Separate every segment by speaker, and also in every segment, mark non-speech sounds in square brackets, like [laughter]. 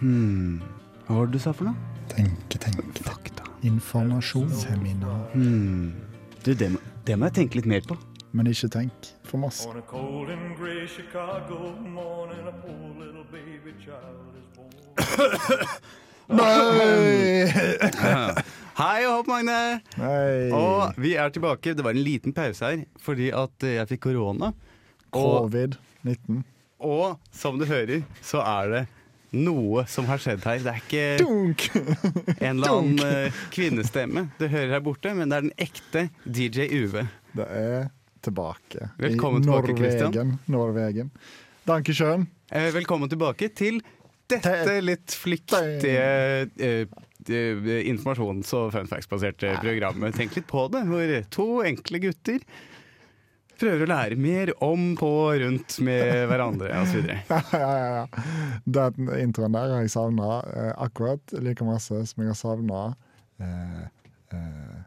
Speaker 1: Hmm. Hva var det du sa for noe?
Speaker 2: Tenke, tenke.
Speaker 1: Fakta.
Speaker 2: Informasjon. Seminar.
Speaker 1: Hmm. Du, det må, det må jeg tenke litt mer på.
Speaker 2: Men ikke tenk for masse.
Speaker 3: On a cold and gray Chicago morning, a poor little baby child is born.
Speaker 2: Nei!
Speaker 1: [laughs] Hei og hopp, Magne!
Speaker 2: Nei.
Speaker 1: Og vi er tilbake. Det var en liten pause her fordi at eh, jeg fikk korona. Og,
Speaker 2: Covid-19.
Speaker 1: og som du hører, så er det noe som har skjedd her. Det er ikke
Speaker 2: Dunk!
Speaker 1: en eller annen eh, kvinnestemme du hører her borte, men det er den ekte DJ UV.
Speaker 2: Det er tilbake.
Speaker 1: Velkommen
Speaker 2: I
Speaker 1: tilbake, Christian.
Speaker 2: Norvegen. Norvegen. Dankesjøen. [laughs]
Speaker 1: Eh, Velkommen tilbake til dette
Speaker 2: Te-
Speaker 1: litt flyktige eh, eh, informasjons- og fun facts-baserte programmet. Tenk litt på det, hvor to enkle gutter prøver å lære mer om på og rundt med hverandre osv.
Speaker 2: Ja, ja, ja. Den introen der har jeg savna eh, akkurat like masse som jeg har savna eh, eh,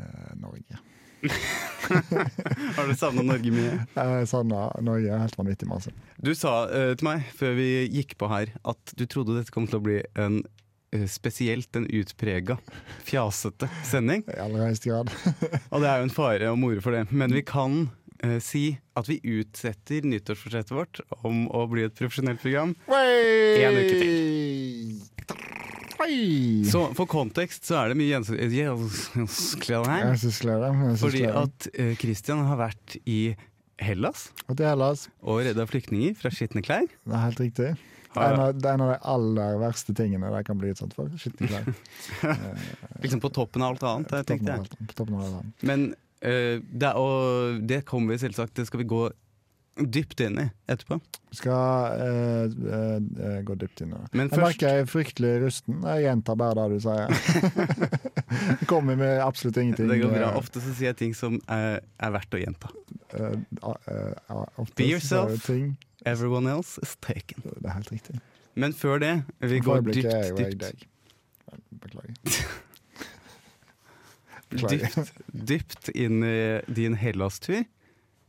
Speaker 2: eh, Norge.
Speaker 1: Har du savna Norge mye?
Speaker 2: Jeg savna Norge helt vanvittig masse.
Speaker 1: Du sa eh, til meg før vi gikk på her at du trodde dette kom til å bli en eh, Spesielt en utprega, fjasete sending.
Speaker 2: I aller høyeste grad. [laughs]
Speaker 1: Og det er jo en fare og moro for det. Men vi kan eh, si at vi utsetter nyttårsforsettet vårt om å bli et profesjonelt program. En uke
Speaker 2: Oi!
Speaker 1: Så for kontekst så er det mye gjens- gjenskler her.
Speaker 2: Jeg syns gleder meg. jeg synes
Speaker 1: Fordi
Speaker 2: gleder meg.
Speaker 1: at eh, Christian har vært i Hellas
Speaker 2: Og til Hellas,
Speaker 1: og redda flyktninger fra skitne klær.
Speaker 2: det er helt riktig. Det er, en av, det er en av de aller verste tingene de kan bli utsatt for.
Speaker 1: [laughs]
Speaker 2: Skitne klær.
Speaker 1: Liksom på toppen av alt annet, eh,
Speaker 2: Toppen
Speaker 1: tenkte
Speaker 2: av
Speaker 1: jeg.
Speaker 2: alt- på toppen av alt annet.
Speaker 1: Men eh, det, er- og det kommer vi selvsagt Det skal vi gå dypt inn i etterpå.
Speaker 2: Vi skal eh, eh, eh, gå dypt inn i det.
Speaker 1: Men
Speaker 2: Jeg
Speaker 1: først
Speaker 2: merker jeg er fryktelig rusten. Jeg gjentar bare det du
Speaker 1: [laughs]
Speaker 2: sier. Kommer med absolutt ingenting.
Speaker 1: Det går bra. Ofte så sier jeg ting som eh, er verdt å gjenta.
Speaker 2: Eh, eh, eh, ofte
Speaker 1: Be
Speaker 2: så er det
Speaker 1: yourself.
Speaker 2: Ting.
Speaker 1: Everyone else is taken.
Speaker 2: Det er helt riktig.
Speaker 1: Men før det, vi
Speaker 2: For
Speaker 1: går
Speaker 2: øyeblikket
Speaker 1: dypt,
Speaker 2: er jo jeg
Speaker 1: dypt,
Speaker 2: deg. Beklager. Beklager.
Speaker 1: dypt, dypt inn i din Hellas-tur.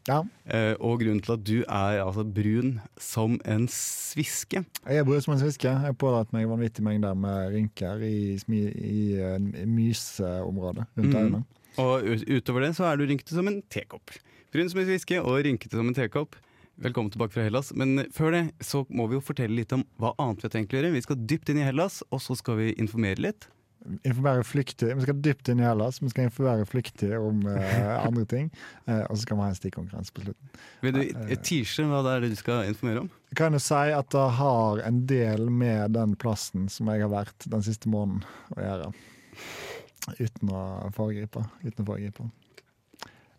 Speaker 2: Ja,
Speaker 1: eh, Og grunnen til at du er altså brun som en sviske.
Speaker 2: jeg er brun som en sviske. Jeg har pådratt meg vanvittig mengder med rynker i, smi, i, eh, myseområdet rundt
Speaker 1: Mhm.
Speaker 2: øynene.
Speaker 1: Og ut- utover det så er du rynkete som en tekopp. Brun som en sviske og rynkete som en tekopp. Velkommen tilbake fra Hellas. Men før det så må vi jo fortelle litt om hva annet vi har tenkt å gjøre. Vi skal dypt inn i Hellas, og så skal vi informere litt.
Speaker 2: Informere flyktig. Vi skal dypt inn i Hellas. Vi skal informere flyktig om eh, andre ting. Eh, og så skal vi ha en stikkonkurranse på slutten.
Speaker 1: Vil du eh, tease hva det er det du skal informere om?
Speaker 2: kan jo si at det har en del med den plassen som jeg har vært den siste måneden å gjøre. Uten å foregripe. Uten å foregripe.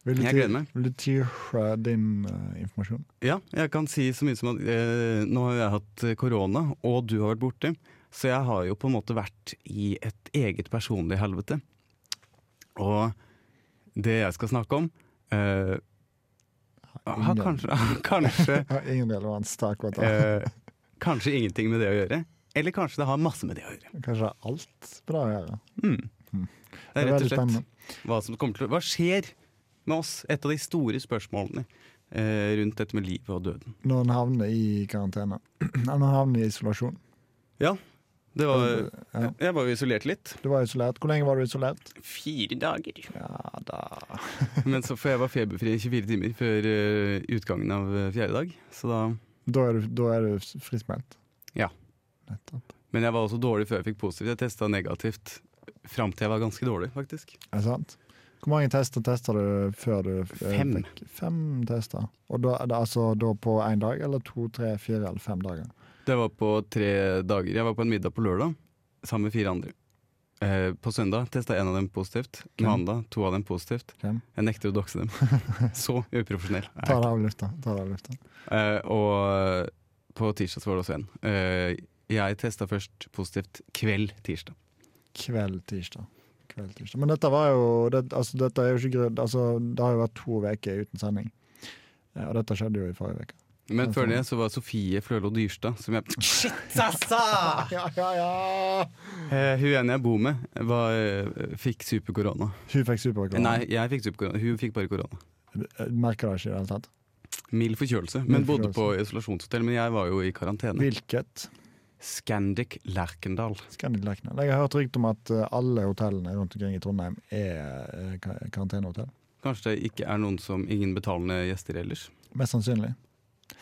Speaker 2: Vil du,
Speaker 1: Jeg
Speaker 2: ty-
Speaker 1: gleder meg.
Speaker 2: vil du tyre din eh, informasjon?
Speaker 1: Ja, jeg kan si så mye som at eh, nå har jeg hatt eh, korona, og du har vært borte. Så jeg har jo på en måte vært i et eget personlig helvete. Og det jeg skal snakke om eh, har
Speaker 2: ingen-
Speaker 1: kanskje, [laughs] har kanskje,
Speaker 2: Jeg har ingen relevans til akkurat det.
Speaker 1: eh, kanskje ingenting med det å gjøre. Eller kanskje det har masse med det å gjøre.
Speaker 2: Kanskje alt med det å gjøre.
Speaker 1: Det er rett og
Speaker 2: veldig
Speaker 1: slett
Speaker 2: spennende.
Speaker 1: hva som kommer til å Hva skjer med oss? Et av de store spørsmålene eh, rundt dette med livet og døden.
Speaker 2: Når en havner i karantene. [clears throat] Når en havner i isolasjon.
Speaker 1: Ja, det var
Speaker 2: Ja.
Speaker 1: Jeg var jo isolert litt.
Speaker 2: Du var isolert. Hvor lenge var du isolert?
Speaker 1: Fire dager.
Speaker 2: Ja da
Speaker 1: [laughs] Men så, for jeg var feberfri i 24 timer før eh, utgangen av eh, fjerde dag. Så da,
Speaker 2: Da er du, da er du friskmeldt?
Speaker 1: Ja.
Speaker 2: Nettopp.
Speaker 1: men jeg var også dårlig før jeg fikk positivt. Jeg testa negativt fram til jeg var ganske dårlig, faktisk.
Speaker 2: Er det sant? Hvor mange tester tester du før du eh,
Speaker 1: Fem.
Speaker 2: fikk? Fem tester. Og da, er det altså da på én dag, eller to, tre, fire eller fem dager?
Speaker 1: Det var på tre dager. Jeg var på en middag på lørdag sammen med fire andre. Eh, på søndag testa en av dem positivt.
Speaker 2: Hvem?
Speaker 1: Mandag to av dem positivt.
Speaker 2: Hvem?
Speaker 1: Jeg nekter å dokse
Speaker 2: [laughs]
Speaker 1: dem. Så uprofesjonell. er jeg.
Speaker 2: Ta det av lufta. ta det av lufta.
Speaker 1: Eh, og på tirsdag så var det også en. Eh, jeg testa først positivt kveld tirsdag.
Speaker 2: Kveld tirsdag. Kveld tirsdag. Men dette var jo det, altså, dette er jo ikke grunn, altså, det har jo vært to uker uten sending. Eh, Og dette skjedde jo i forrige uke.
Speaker 1: Men
Speaker 2: Ja,
Speaker 1: før
Speaker 2: sånn.
Speaker 1: det så var Sofie Flørlo Dyrstad, som jeg
Speaker 2: [laughs] Ja, ja, ja!
Speaker 1: Eh, Hun ene jeg bor med, var, eh, fikk superkorona.
Speaker 2: Hun fikk superkorona.
Speaker 1: Nei, jeg fikk superkorona. Hun fikk bare korona.
Speaker 2: Eh, Merker det ikke i det hele tatt.
Speaker 1: Mild forkjølelse.
Speaker 2: Mild
Speaker 1: Men bodde på
Speaker 2: forkjølelse.
Speaker 1: isolasjonshotell. Men jeg var jo i karantene.
Speaker 2: Hvilket
Speaker 1: Scandic Lerkendal.
Speaker 2: Scandic Lerkendal. Jeg har hørt rykte om at eh, alle hotellene rundt omkring i Trondheim er eh, ka- karantenehotell.
Speaker 1: Kanskje det ikke er noen som ingen betalende gjester ellers.
Speaker 2: Mest sannsynlig.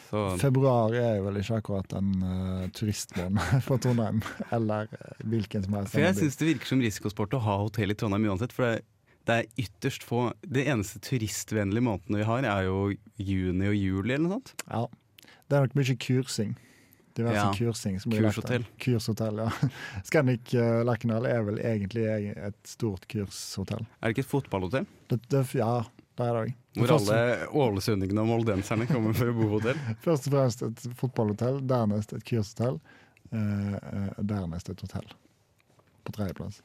Speaker 1: Så
Speaker 2: Februar er jo vel ikke akkurat en uh, turistmåned [laughs] for Trondheim, eller eh, hvilken som helst.
Speaker 1: For jeg
Speaker 2: annen by.
Speaker 1: syns det virker som risikosport å ha hotell i Trondheim uansett. For det, det er ytterst få Det eneste turistvennlige månedene vi har, er jo juni og juli eller noe sånt.
Speaker 2: Ja. Det er nok mye kursing. Diverse
Speaker 1: Ja.
Speaker 2: altså kursing. Som blir lagt der.
Speaker 1: Kurshotell.
Speaker 2: Kurshotell, ja. [laughs] Scandic eh, Lerkendal er vel egentlig eg- et stort kurshotell.
Speaker 1: Er det ikke et fotballhotell?
Speaker 2: Det, det, ja, det er det òg.
Speaker 1: Hvor alle ålesundingene og moldenserne kommer for å bo på
Speaker 2: [laughs]
Speaker 1: hotell?
Speaker 2: Først og fremst et fotballhotell, dernest et kurshotell, eh, eh, dernest et hotell. På tredjeplass.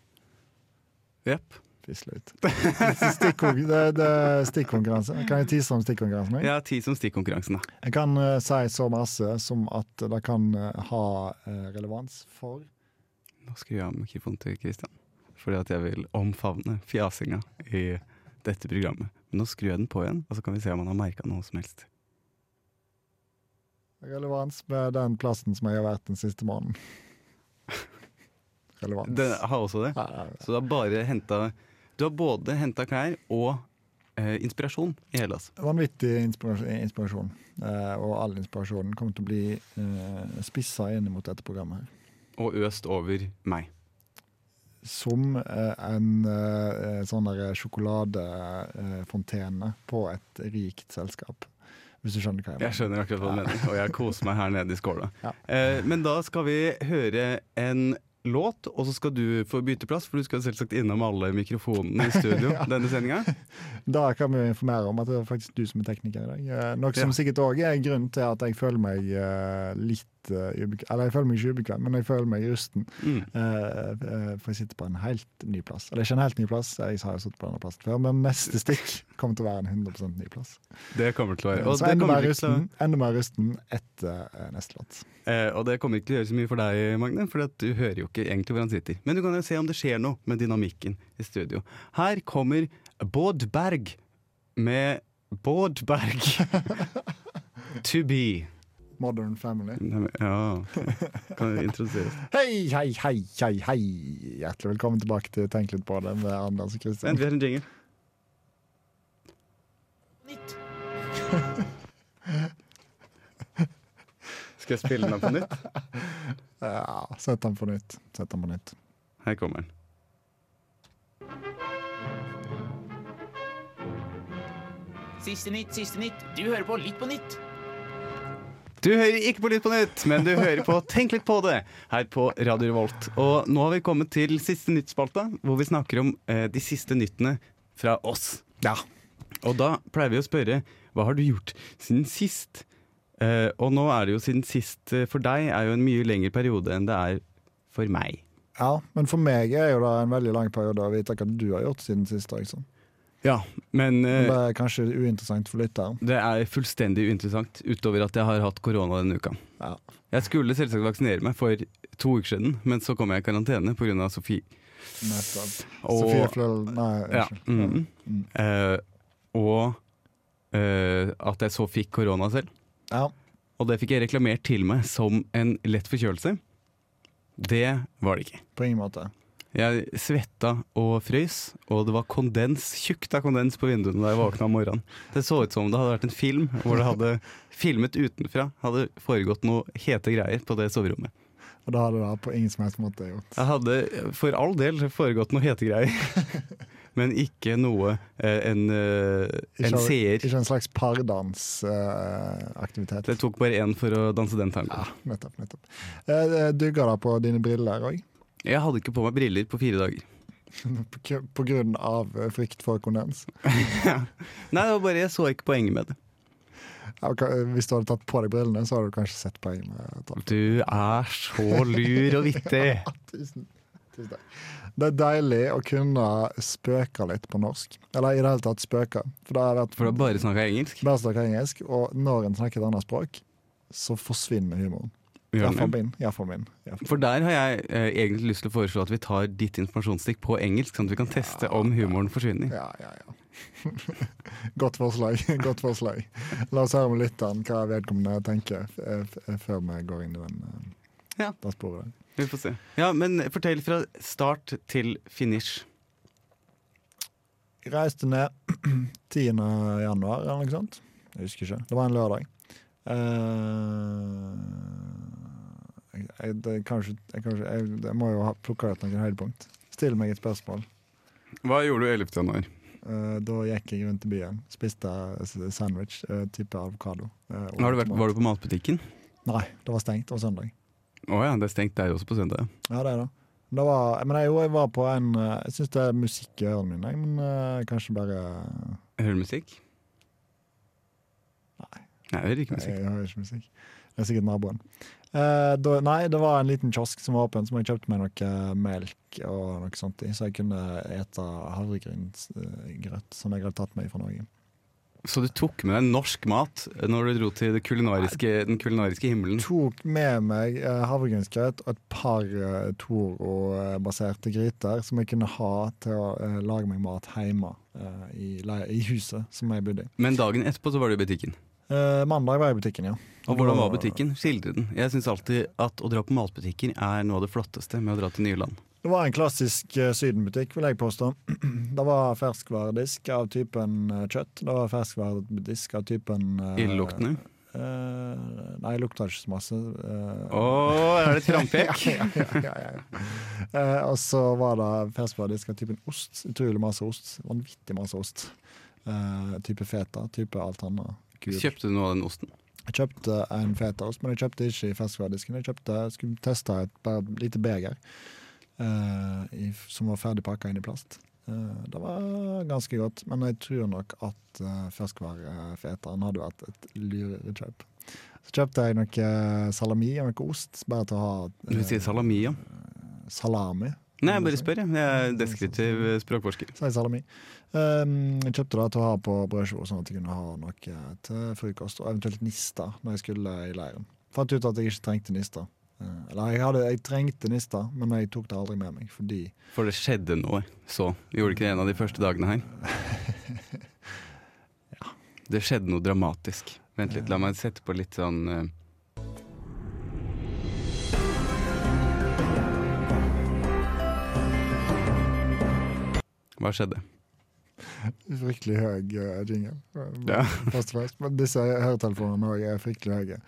Speaker 1: Jepp.
Speaker 2: Fisløyt. Stikkon- Det det er stikkonkurranse. Kan jeg tise om stikkonkurransen? min?
Speaker 1: Jeg har tid som stikkonkurransen, da.
Speaker 2: Jeg kan eh, si så masse som at det kan eh, ha eh, relevans for
Speaker 1: Nå skrur jeg av mikrofonen til Kristian. Fordi at jeg vil omfavne fjasinga i dette programmet. Men nå skrur jeg den på igjen, og så kan vi se om han har merka noe som helst.
Speaker 2: relevans med den plassen som jeg har vært den siste måneden. Relevans.
Speaker 1: Det har også det.
Speaker 2: Ja, ja, ja.
Speaker 1: Så du har bare henta Du har både henta klær og eh, inspirasjon i Hellas.
Speaker 2: Vanvittig inspirasjon. inspirasjon. Eh, og all inspirasjonen kommer til å bli eh, spissa inn mot dette programmet. her.
Speaker 1: og øst over meg.
Speaker 2: Som eh, en eh, sånn der sjokoladefontene på et rikt selskap. Hvis du skjønner hva jeg
Speaker 1: Jeg
Speaker 2: mener.
Speaker 1: skjønner akkurat hva du mener, og jeg koser meg her nede i skåla.
Speaker 2: Ja.
Speaker 1: Eh, men da skal vi høre en låt, og så skal du få bytte plass, for du skal selvsagt innom alle mikrofonene i
Speaker 2: [laughs]
Speaker 1: studio denne sendinga.
Speaker 2: Da kan vi informere om at det er faktisk du som er tekniker i dag. Eh, noe som
Speaker 1: Ja.
Speaker 2: sikkert òg er grunnen til at jeg føler meg eh, litt eh, ubekvem. Eller jeg føler meg ikke ubekvem, men jeg føler meg rusten.
Speaker 1: Mm.
Speaker 2: Eh, eh, for jeg sitter på en helt ny plass. Eller ikke en helt ny plass, jeg har jo sittet på denne plassen før, men neste stikk kommer til å være en 100 ny plass.
Speaker 1: Det kommer til å være. Og
Speaker 2: så
Speaker 1: det
Speaker 2: enda
Speaker 1: kommer
Speaker 2: mer
Speaker 1: ikke til å,
Speaker 2: rusten, enda mer rusten etter eh, neste låt.
Speaker 1: eh, og det kommer ikke til å gjøre så mye for deg, Magne, for at du hører jo ikke egentlig hvor han sitter. Men du kan jo se om det skjer noe med dynamikken i studio. Her kommer Bård Berg med Bård Berg [laughs] To be.
Speaker 2: Modern Family.
Speaker 1: Ja, ok. Kan du introduseres?
Speaker 2: Hei, hei, hei, hei, hei! Hjertelig velkommen tilbake til Tenk litt på det med Anders og
Speaker 1: Vent,
Speaker 2: Kristian.
Speaker 1: vi har en jingle. Skal jeg spille den av på nytt?
Speaker 2: Ja, sett den på nytt. Sett den på nytt.
Speaker 1: Her kommer den.
Speaker 4: Siste nytt, siste nytt. Du hører på Litt på nytt.
Speaker 1: Du hører ikke på Lytt på nytt, men du hører på Tenk litt på det her på Radio Revolt. Og nå har vi kommet til siste nyttspalta, hvor vi snakker om eh, de siste nyttene fra oss.
Speaker 2: Ja.
Speaker 1: Og da pleier vi å spørre hva har du gjort siden sist? Eh, og nå er det jo siden sist eh, for deg er jo en mye lengre periode enn det er for meg.
Speaker 2: ja, men for meg er jo det en veldig lang periode å vite hva du har gjort siden sist. Liksom.
Speaker 1: Eh. Ja, men eh,
Speaker 2: Men det er kanskje uinteressant for lytteren.
Speaker 1: Det er fullstendig uinteressant, utover at jeg har hatt korona denne uka.
Speaker 2: Ja.
Speaker 1: Jeg skulle selvsagt vaksinere meg for to uker siden, men så kom jeg i karantene pga. Sofie.
Speaker 2: Nettopp.
Speaker 1: Og-
Speaker 2: Sofie Fløll Nei,
Speaker 1: Ja.
Speaker 2: unnskyld.
Speaker 1: mhm. Eh, og eh, at jeg så fikk korona selv.
Speaker 2: Ja.
Speaker 1: Og det fikk jeg reklamert til meg som en lett forkjølelse. Det var det ikke.
Speaker 2: På ingen måte.
Speaker 1: Jeg svetta og frøys, og det var kondens, tjukt av kondens på vinduene da jeg våkna om morgenen. Det så ut som om det hadde vært en film hvor det hadde filmet utenfra, hadde foregått noe hete greier på det soverommet.
Speaker 2: Og det hadde det på ingen som helst måte gjort.
Speaker 1: Jeg hadde for all del foregått noe hete greier. [laughs] Men ikke noe eh, en, eh, en
Speaker 2: av-
Speaker 1: seer.
Speaker 2: ikke en slags pardansaktivitet.
Speaker 1: Det tok bare én for å danse den tangoen.
Speaker 2: ja, nettopp. nettopp. Eh, Dugga det på dine briller òg?
Speaker 1: Jeg hadde ikke på meg briller på fire dager.
Speaker 2: [laughs]
Speaker 1: [laughs]
Speaker 2: På k- på grunn av eh, frykt for kondens?
Speaker 1: Nei, det var bare jeg så ikke poenget med det.
Speaker 2: Ja, ok, Hvis du hadde tatt på deg brillene, så hadde du kanskje sett eh, poenget med
Speaker 1: [laughs]
Speaker 2: det.
Speaker 1: Du er så lur og vittig.
Speaker 2: Tusen, tusen takk. Det er deilig å kunne spøke litt på norsk. Eller i det hele tatt spøke. For det har vært
Speaker 1: [laughs] For da bare snakka jeg engelsk.
Speaker 2: bare snakke engelsk, og når en snakker et annet språk, så forsvinner humoren.
Speaker 1: Gjør
Speaker 2: Iallfall
Speaker 1: den det?
Speaker 2: min. i hvert fall min. i hvert fall.
Speaker 1: For der har jeg eh, egentlig lyst til å foreslå at vi tar ditt informasjonsstikk på engelsk, sånn at vi kan teste om humoren forsvinner.
Speaker 2: Ja, ja, ja. [laughs] Godt forslag. [laughs] Godt forslag. La oss høre med lytteren hva vedkommende tenker eh, f- eh, før vi går inn i den
Speaker 1: Ja.
Speaker 2: Det sporet der.
Speaker 1: Vi får se. Ja, men fortell fra start til finish.
Speaker 2: Jeg reiste ned [clears throat] 10. januar eller noe sånt. Jeg husker ikke. Det var en lørdag. Eh, jeg, jeg, det, er kanskje, jeg, kanskje, jeg, jeg må jo ha plukka ut noen høydepunkt. Still meg et spørsmål.
Speaker 1: Hva gjorde du 11. januar?
Speaker 2: Eh, da gikk jeg rundt i byen. Spiste s- sandwich, eh, type avokado. eh, og
Speaker 1: Har du vært,
Speaker 2: tomat.
Speaker 1: var du på matbutikken?
Speaker 2: Nei, det var stengt. Det var søndag.
Speaker 1: Å ja, det er stengt der også på søndag.
Speaker 2: Ja, det er det. det var, men jeg, jo, jeg var på en eh, Jeg syns det er musikk i ørene mine, jeg, men eh, kanskje bare
Speaker 1: Hører du musikk? Nei, jeg hører ikke
Speaker 2: Jeg,
Speaker 1: musikk.
Speaker 2: jeg hører ikke musikk. Det er sikkert naboen. Eh, da, nei, det var en liten kiosk som var åpen, som jeg kjøpte meg noe eh, melk og noe sånt i, så jeg kunne ete havregrynsgrøt som jeg hadde tatt med fra
Speaker 1: Mm.
Speaker 2: Norge.
Speaker 1: Så du tok med deg norsk mat når du dro til det kulinariske, den kulinariske himmelen?
Speaker 2: Tok med meg eh, havregrynsgrøt og et par eh, Toro-baserte gryter som jeg kunne ha til å eh, lage meg mat hjemme eh, i, le- i huset som jeg bodde i.
Speaker 1: Men dagen etterpå så var du i butikken.
Speaker 2: Eh, mandag var jeg i butikken, ja.
Speaker 1: Og hvordan var butikken? Skildre den. Jeg syns alltid at å dra på matbutikker er noe av det flotteste med å dra til nye land.
Speaker 2: Det var en klassisk eh, sydenbutikk, vil jeg påstå. [clears throat] Det var ferskvaredisk av typen eh, kjøtt. Det var ferskvaredisk av typen eh,
Speaker 1: Illeluktende.
Speaker 2: eh, nei, lukta ikke så masse. eh.
Speaker 1: Å, er det et frampek?
Speaker 2: [laughs] ja, ja, ja, ja. Eh, og så var det ferskvaredisk av typen ost. Utrolig masse ost. Vanvittig masse ost. Eh, type feta, type alt annet. Gul.
Speaker 1: Kjøpte du noe av den osten?
Speaker 2: Jeg kjøpte en fetaost, men jeg kjøpte ikke i ferskvaredisken. Jeg kjøpte, jeg skulle teste et bare lite beger eh, i, som var ferdig pakka inn i plast. Eh, det var ganske godt, men jeg tror nok at uh, ferskvarefeteren hadde vært et lurekjøp. Så kjøpte jeg noe eh, salami og noe ost, bare til å ha eh,
Speaker 1: Du sier salami, ja.
Speaker 2: salami.
Speaker 1: Nei, jeg bare spør, jeg. Jeg er deskriptiv språkforsker.
Speaker 2: Sier salami. Ehm, jeg kjøpte det til å ha på brødskiva, sånn at jeg kunne ha noe til frokost, og eventuelt nister når jeg skulle i leiren. Fant ut at jeg ikke trengte nister. Eh, Eller jeg, hadde, jeg trengte nister, men jeg tok det aldri med meg, fordi
Speaker 1: For det skjedde noe, så. Gjorde ikke det en av de første dagene
Speaker 2: [laughs]
Speaker 1: her? Det skjedde noe dramatisk. Vent litt, la meg sette på litt sånn eh, Hva skjedde?
Speaker 2: Fryktelig høy eh, jingle. eh,
Speaker 1: Ja.
Speaker 2: [laughs] Først og fremst. Men disse høretelefonene også er fryktelig høye,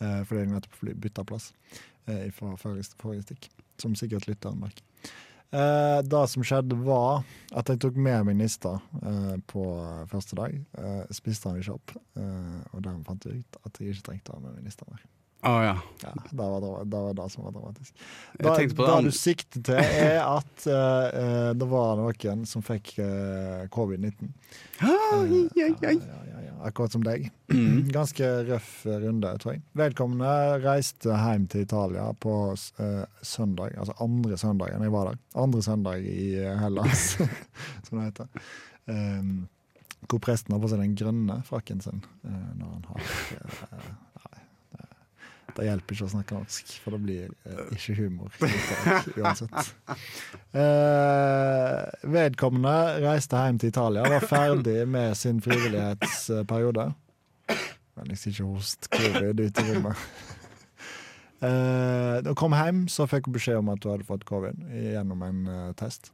Speaker 2: eh, fordi jeg nettopp fly- bytta plass eh, fra forrige, forrige stikk, som sikkert lytteren merker. Eh, det som skjedde, var at jeg tok med meg nista eh, på første dag. Eh, spiste den ikke opp, eh, og dermed fant jeg ut at jeg ikke trengte å ha med meg nista mer.
Speaker 1: Å Ah, ja.
Speaker 2: Ja, det var, dra- det var det som var dramatisk.
Speaker 1: Jeg
Speaker 2: Da-
Speaker 1: tenkte på det
Speaker 2: det
Speaker 1: andre-
Speaker 2: du sikter til, er at eh, eh, det var noen som fikk eh, covid-19.
Speaker 1: [gasps] Ai, ai, ai. Mm.
Speaker 2: Ja, ja, ja, akkurat som deg. [clears throat] Ganske røff runde, tror jeg. Vedkommende reiste hjem til Italia på eh, søndag, altså andre søndagen jeg var der. Andre søndag i eh, Hellas, [laughs] som det heter. Ehm, hvor presten har på seg den grønne frakken sin eh, når han har eh, Nei, det, det hjelper ikke å snakke norsk, for det blir eh, ikke humor. uansett. Eh, vedkommende reiste hjem til Italia, var ferdig med sin frivillighetsperiode. Vennligst ikke host covid ut i rommet. [laughs] Eh, Da hun kom hjem, så fikk hun beskjed om at hun hadde fått covid gjennom en eh, test.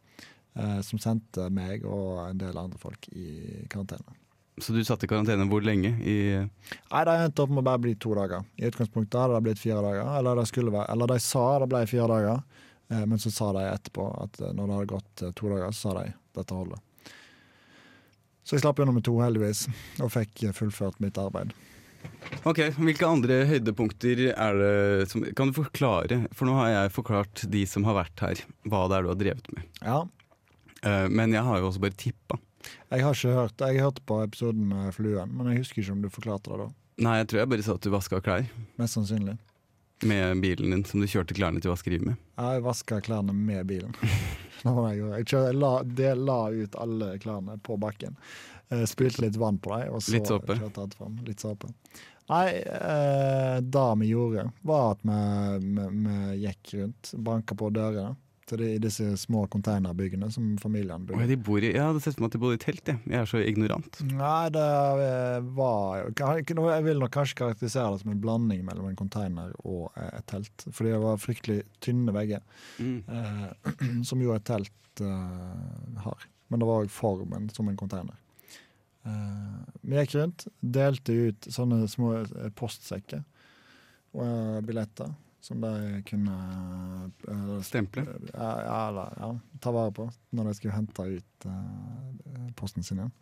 Speaker 2: eh, Som sendte meg og en del andre folk i karantene.
Speaker 1: Så du satt i karantene hvor lenge? I, eh,
Speaker 2: Nei, Det endte opp med å bare bli to dager. I utgangspunktet hadde det blitt fire dager. Eller, det skulle være, eller de sa det ble fire dager, eh, men så sa de etterpå at eh, når det hadde gått eh, to dager, så sa de dette holder. Så jeg slapp gjennom med to, heldigvis, og fikk eh, fullført mitt arbeid.
Speaker 1: Ok, Hvilke andre høydepunkter er det som Kan du forklare, for nå har jeg forklart de som har vært her, hva det er du har drevet med.
Speaker 2: Ja,
Speaker 1: Eh, Men jeg har jo også bare tippa.
Speaker 2: Jeg har ikke hørt Jeg hørte på episoden med fluen, men jeg husker ikke om du forklarte det da.
Speaker 1: Nei, jeg tror jeg bare sa at du vaska klær
Speaker 2: Mest sannsynlig.
Speaker 1: med bilen din som du kjørte klærne til vaskeriet med.
Speaker 2: Jeg vaska klærne med
Speaker 1: [laughs]
Speaker 2: bilen. Det var det jeg gjorde. Jeg kjør- jeg la, det la ut alle klærne på bakken. Eh, Spylte litt vann på dem, og så
Speaker 1: Litt såpe.
Speaker 2: kjørte jeg det fram. Litt såpe. Nei, eh, det vi gjorde, var at vi, vi, vi gikk rundt, banka på dørene til de, i disse små containerbyggene som familien
Speaker 1: Å, ja,
Speaker 2: bygde.
Speaker 1: de bor i, jeg hadde sett for meg at de bodde i telt, jeg. Jeg er så ignorant.
Speaker 2: Nei, det eh, var jo kan- ikke noe- Jeg vil nok kanskje karakterisere det som en blanding mellom en container og eh, et telt. Fordi det var fryktelig tynne vegger,
Speaker 1: Mm.
Speaker 2: eh, [clears throat] som jo et telt eh, har. Men det var òg formen som en container. Eh, vi gikk rundt, delte ut sånne små eh, postsekker og eh, billetter som de kunne eh,
Speaker 1: Stemple.
Speaker 2: ja, ja, eller, ja, ta vare på når de skulle hente ut eh, posten sin igjen.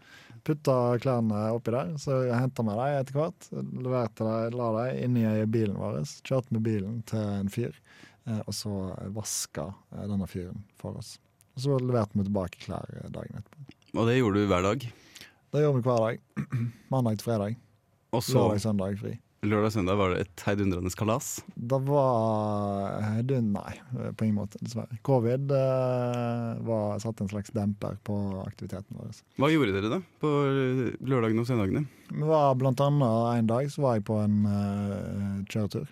Speaker 2: Putta klærne oppi der, så henta vi dem etter hvert. Leverte dem, la dem inni bilen vår. Kjørte med bilen til en fyr, eh, og så vaska eh, denne fyren for oss. Og så leverte vi tilbake klær eh, dagen etterpå.
Speaker 1: Og det gjorde du hver dag.
Speaker 2: Det gjorde vi hver dag. [clears throat] Mandag til fredag.
Speaker 1: Og så
Speaker 2: Lørdag, søndag fri.
Speaker 1: lørdag og søndag var det et heidundrende kalas.
Speaker 2: Det var eh, det, Nei, på ingen måte, dessverre. Covid eh, var, satte en slags demper på aktiviteten vår.
Speaker 1: Hva gjorde dere da på lørdagene og søndagene?
Speaker 2: Vi var blant annet en dag så var jeg på en eh, kjøretur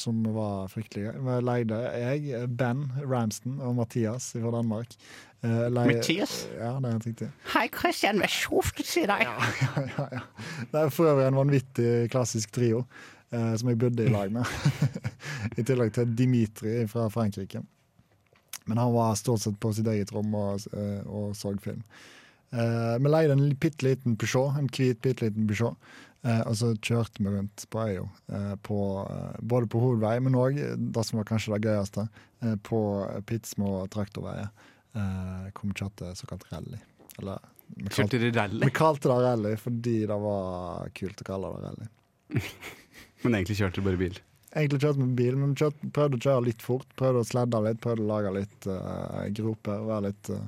Speaker 2: som var fryktelig gøy. Vi leide jeg, Ben Ramston og Mathias fra Danmark. eh, leie-
Speaker 5: Mathias?
Speaker 2: Ja, det er helt riktig.
Speaker 5: Hei, Christian, vær så snill til deg.
Speaker 2: ja, ja, ja. Det er for øvrig en vanvittig klassisk trio eh, som jeg bodde i lag med. [laughs] I tillegg til Dimitri fra Frankrike. Men han var stort sett på sitt eget rom og, eh, og så film. Eh, vi leide en bitte liten Peugeot, en hvit bitte liten Peugeot. Eh, og så kjørte vi rundt på øya, eh, på, eh, både på hovedvei, men òg det som var kanskje det gøyeste, eh, på pittsmå traktorveier. Eh, hvor vi kjørte såkalt rally. Eller vi kalte
Speaker 1: Kjørte dere rally?
Speaker 2: vi kalte det rally fordi det var kult å kalle det rally.
Speaker 1: Men egentlig kjørte dere bare bil.
Speaker 2: Egentlig kjørte vi med bil, men vi kjørte, prøvde å kjøre litt fort. Prøvde å sledde litt, prøvde å lage litt eh, groper. Være litt eh,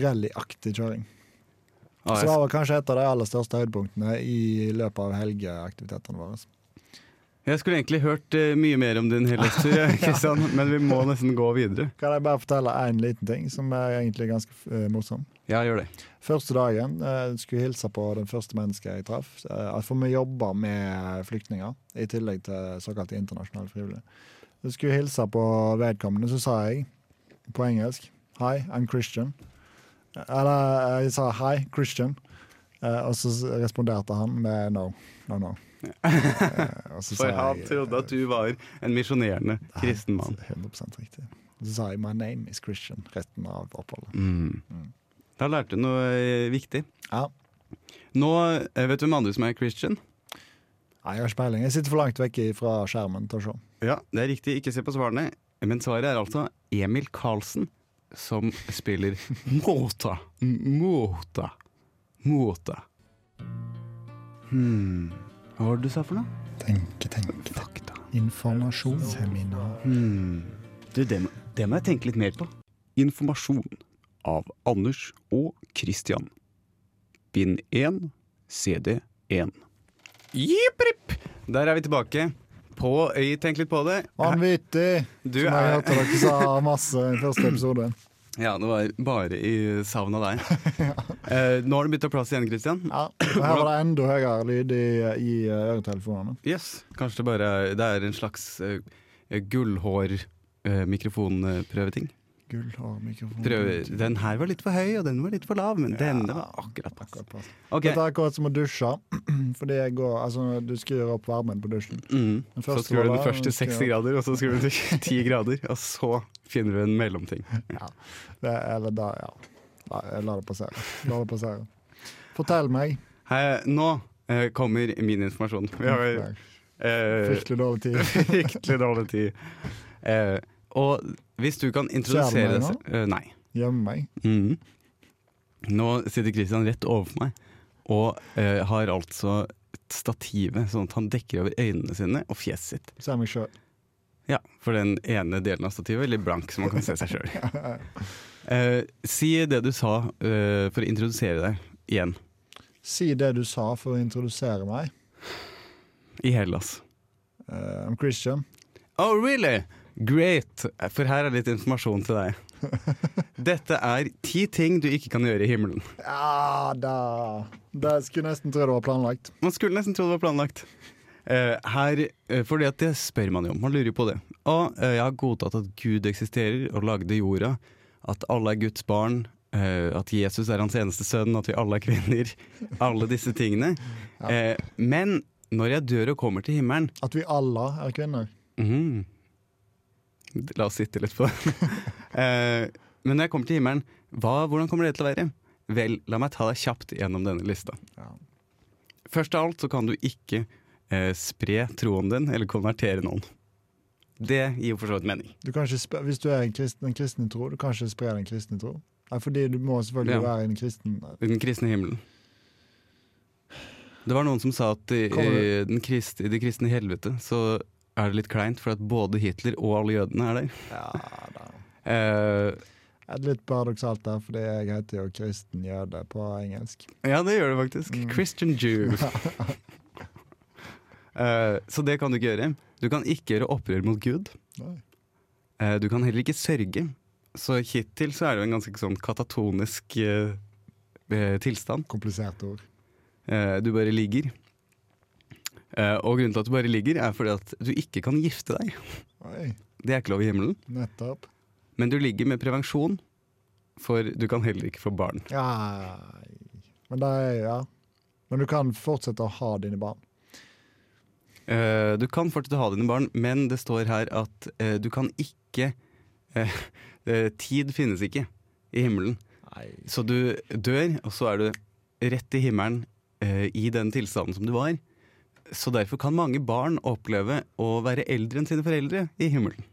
Speaker 2: rallyaktig kjøring. Så det
Speaker 1: AS.
Speaker 2: var kanskje et av de aller største høydepunktene i løpet av helgeaktivitetene våre.
Speaker 1: Jeg skulle egentlig hørt eh, mye mer om din helhetstur, [laughs] jeg, Kristian, men vi må nesten gå videre.
Speaker 2: Kan jeg bare fortelle én liten ting som er egentlig ganske eh, morsom?
Speaker 1: Ja, gjør det.
Speaker 2: Første dagen eh, skulle jeg hilse på den første mennesket jeg traff. Eh, for vi jobber med flyktninger, i tillegg til såkalt internasjonale frivillige. Jeg skulle hilse på vedkommende, så sa jeg på engelsk Hi, I'm Christian. Eh, Eller jeg sa hi, Christian. Eh, og så responderte han med no. No,
Speaker 1: [laughs]
Speaker 2: no. Eh, og så sa
Speaker 1: For han
Speaker 2: jeg-
Speaker 1: trodde at du var en misjonerende kristen
Speaker 2: [laughs]
Speaker 1: mann.
Speaker 2: 100 riktig. Så sa jeg my name is Christian resten av oppholdet.
Speaker 1: Mm. Da lærte du noe eh, viktig.
Speaker 2: Ja.
Speaker 1: Nå eh, vet du hvem andre som er Christian.
Speaker 2: Nei, jeg har ikke peiling. Jeg sitter for langt vekk fra skjermen til å se.
Speaker 1: Ja, det er riktig. Ikke se på svarene. Men svaret er altså Emil Karlsen, som spiller [laughs] Måta. M- Måta. Måta. Hmm. Hva var det du sa for noe?
Speaker 2: Tenke, tenke,
Speaker 1: Fakta.
Speaker 2: Informasjon. Seminar.
Speaker 1: Hmm. Du, det, må- det må jeg tenke litt mer på.
Speaker 6: Informasjon av Anders og Christian. Bind 1, CD 1.
Speaker 1: Jipripp! Der er vi tilbake. På øy, tenk litt på det.
Speaker 2: Vanvittig!
Speaker 1: Du
Speaker 2: som jeg
Speaker 1: er-
Speaker 2: hørte dere sa masse i første episode.
Speaker 1: Ja, det var bare i savn av deg. Eh, nå har du bytta plass igjen, Christian.
Speaker 2: Ja, og her var det enda høyere lyd i, i øretelefonene.
Speaker 1: Yes, kanskje det bare er- det er en slags uh, eh, gullhår-mikrofonprøveting.
Speaker 2: Gullhårmikrofon.
Speaker 1: den her var litt for høy, og den var litt for lav, men denne var akkurat passe.
Speaker 2: Akkurat pass.
Speaker 1: Ok,
Speaker 2: Dette er akkurat som å dusje. [clears throat] Fordi jeg går, altså, du skrur opp varmen på dusjen.
Speaker 1: mm.
Speaker 2: Den
Speaker 1: Så
Speaker 2: første
Speaker 1: skrur du
Speaker 2: var
Speaker 1: den
Speaker 2: der,
Speaker 1: første
Speaker 2: den skrur
Speaker 1: 60 grader, og så skrur du
Speaker 2: [laughs]
Speaker 1: til 10 grader, og så finner du en mellomting.
Speaker 2: Det, eller da, ja. La, la det passere. La det passere. Fortell meg.
Speaker 1: Her, nå eh, kommer min informasjon. Vi har
Speaker 2: Mm, Nei,
Speaker 1: eh,
Speaker 2: Fryktelig dårlig tid.
Speaker 1: [laughs] fryktelig dårlig tid. Eh, og hvis du kan introdusere
Speaker 2: meg
Speaker 1: deg
Speaker 2: nå?
Speaker 1: selv eh, Nei.
Speaker 2: Gjemme meg.
Speaker 1: Mhm. Nå sitter Christian rett overfor meg og eh, har altså et stative sånn at han dekker over øynene sine og fjeset sitt.
Speaker 2: Se meg sjøl.
Speaker 1: Ja, For den ene delen av stativet er litt blank, så man kan se seg sjøl. si det du sa eh, for å introdusere deg igjen,
Speaker 2: Si det du sa for å introdusere meg.
Speaker 1: i Hellas.
Speaker 2: Eh, I'm Christian.
Speaker 1: Oh, really? Great! For her er litt informasjon til deg. Dette er ti ting du ikke kan gjøre i himmelen.
Speaker 2: Ja da! Det skulle jeg nesten tro det var planlagt.
Speaker 1: Man skulle nesten tro det var planlagt. Eh, Eh, her, eh, fordi at det spør man jo om, man lurer jo på det. Og eh, jeg har godtatt at Gud eksisterer og lagde jorda, at alle er Guds barn, eh, at Jesus er hans eneste sønn, at vi alle er kvinner. Alle disse tingene. Eh, men når jeg dør og kommer til himmelen
Speaker 2: At vi alle er kvinner.
Speaker 1: mhm, La oss sitte litt på det. [laughs] eh, men når jeg kommer til himmelen, hva, hvordan kommer det til å være? Vel, la meg ta deg kjapt gjennom denne lista.
Speaker 2: Ja.
Speaker 1: Først av alt så kan du ikke eh, spre troen din eller konvertere noen. Det gir jo for så vidt mening.
Speaker 2: Du kan ikke sp- hvis du er en kristen, en kristen tro, du kan ikke spre den kristne tro. Nei, fordi du må selvfølgelig
Speaker 1: Ja.
Speaker 2: være en kristen.
Speaker 1: I Den kristne himmelen. Det var noen som sa at i,
Speaker 2: Kommer
Speaker 1: i,
Speaker 2: det-
Speaker 1: den krist, i det kristne helvete så er det litt kleint, for at både Hitler og alle jødene er der. Eh,
Speaker 2: Det er litt paradoksalt der, fordi jeg heter jo kristen jøde på engelsk.
Speaker 1: ja, det gjør det faktisk. Christian Jew. Eh, så det kan du ikke gjøre. Du kan ikke gjøre opprør mot Gud.
Speaker 2: Nei.
Speaker 1: Eh, Du kan heller ikke sørge. Så hittil så er det jo en ganske sånn katatonisk eh, eh, tilstand.
Speaker 2: Kompliserte ord.
Speaker 1: Eh, du bare ligger. Eh, og grunnen til at du bare ligger, er fordi at du ikke kan gifte deg.
Speaker 2: Oi,
Speaker 1: Det er ikke lov i himmelen.
Speaker 2: nettopp.
Speaker 1: Men du ligger med prevensjon, for du kan heller ikke få barn.
Speaker 2: Ja. Men, det er, ja. Men du kan fortsette å ha dine barn.
Speaker 1: Eh, du kan fortsatt ha dine barn, men det står her at eh, du kan ikke eh, [laughs] eh, Tid finnes ikke i himmelen.
Speaker 2: Nei.
Speaker 1: Så du dør, og så er du rett i himmelen eh, i den tilstanden som du var. Så derfor kan mange barn oppleve å være eldre enn sine foreldre i himmelen.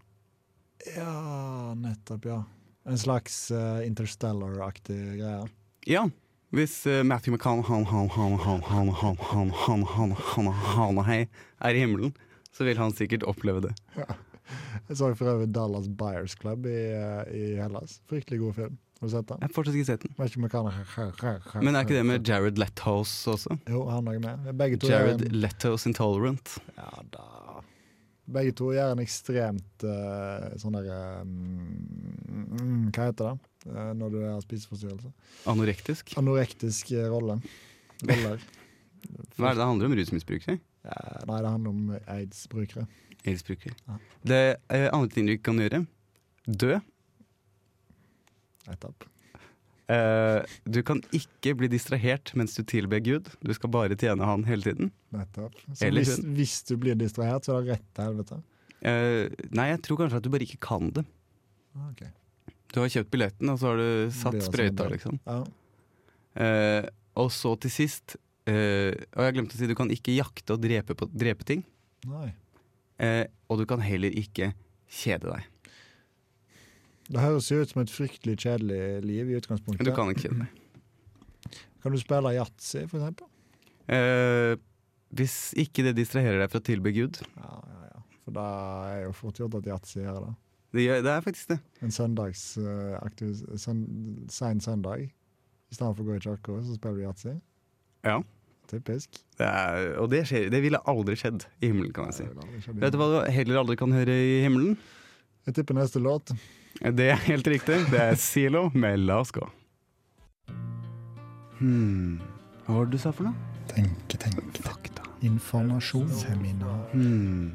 Speaker 2: Ja, nettopp, ja. En slags eh, interstellar-aktig greie.
Speaker 1: Ja, hvis eh, Matthew McCann han, han, han, han, han, han, han, han, han, han, han, hei, er i himmelen, så vil han sikkert oppleve det.
Speaker 2: Jeg så for øvrig Dallas Buyers Club i, eh, i Hellas. Fryktelig god film. Har du sett den?
Speaker 1: Jeg har fortsatt ikke sett den.
Speaker 2: Vet ikke om jeg kan
Speaker 1: Men er ikke det med Jared Lethose også?
Speaker 2: Jo, han er med. Begge to, eh,
Speaker 1: Jared
Speaker 2: gjør en,
Speaker 1: Lethose Intolerant.
Speaker 2: ja, da. Begge to gjør en ekstremt eh, sånn derre mm, mm, Hva heter det Eh, når du har spiseforstyrrelse?
Speaker 1: Anorektisk.
Speaker 2: Anorektisk eh, rolle. Roller.
Speaker 1: [laughs] Hva er det det handler om? Rusmisbrukere?
Speaker 2: Eh, nei, det handler om aids-brukere.
Speaker 1: Aidsbrukere.
Speaker 2: Ja.
Speaker 1: Det eh, andre ting du ikke kan gjøre, dø.
Speaker 2: Nettopp.
Speaker 1: Eh, du kan ikke bli distrahert mens du tilber Gud. Du skal bare tjene han hele tiden.
Speaker 2: Nettopp. Så
Speaker 1: Eller
Speaker 2: hvis,
Speaker 1: hun.
Speaker 2: hvis du blir distrahert, så er det rett til helvete.
Speaker 1: Eh, nei, jeg tror kanskje at du bare ikke kan det.
Speaker 2: Ah, ok.
Speaker 1: Du har kjøpt billetten, og så har du satt
Speaker 2: Det er
Speaker 1: sprøyta,
Speaker 2: sånn det.
Speaker 1: liksom.
Speaker 2: Ja.
Speaker 1: Eh, og så til sist eh, Og jeg glemte å si, du kan ikke jakte og drepe, på, drepe ting.
Speaker 2: Nei.
Speaker 1: Eh, og du kan heller ikke kjede deg.
Speaker 2: Det høres jo ut som et fryktelig kjedelig liv i utgangspunktet.
Speaker 1: Men du kan ikke kjede deg.
Speaker 2: Kan du spille yatzy, for eksempel?
Speaker 1: Eh, hvis ikke det distraherer deg fra å tilbe Gud.
Speaker 2: Ja, ja, ja. For da er jo fort gjort at yatzy gjør det.
Speaker 1: Det, gjør, det er faktisk det.
Speaker 2: En søndags eh, aktiv- søn- sein søndag. I stedet for å gå i kirka, så spiller du yatzy.
Speaker 1: Ja.
Speaker 2: Typisk.
Speaker 1: det er, og det, skjer, det ville aldri skjedd i himmelen, kan jeg si.
Speaker 2: Nei, det er ikke
Speaker 1: Vet du hva du heller aldri kan høre i himmelen?
Speaker 2: Jeg tipper neste låt.
Speaker 1: Det er helt riktig. Det er Silo med La oss gå. Hmm. Hva var det du sa for noe?
Speaker 2: Tenke, tenke.
Speaker 1: Fakta.
Speaker 2: Informasjon. Seminar.
Speaker 1: Hmm.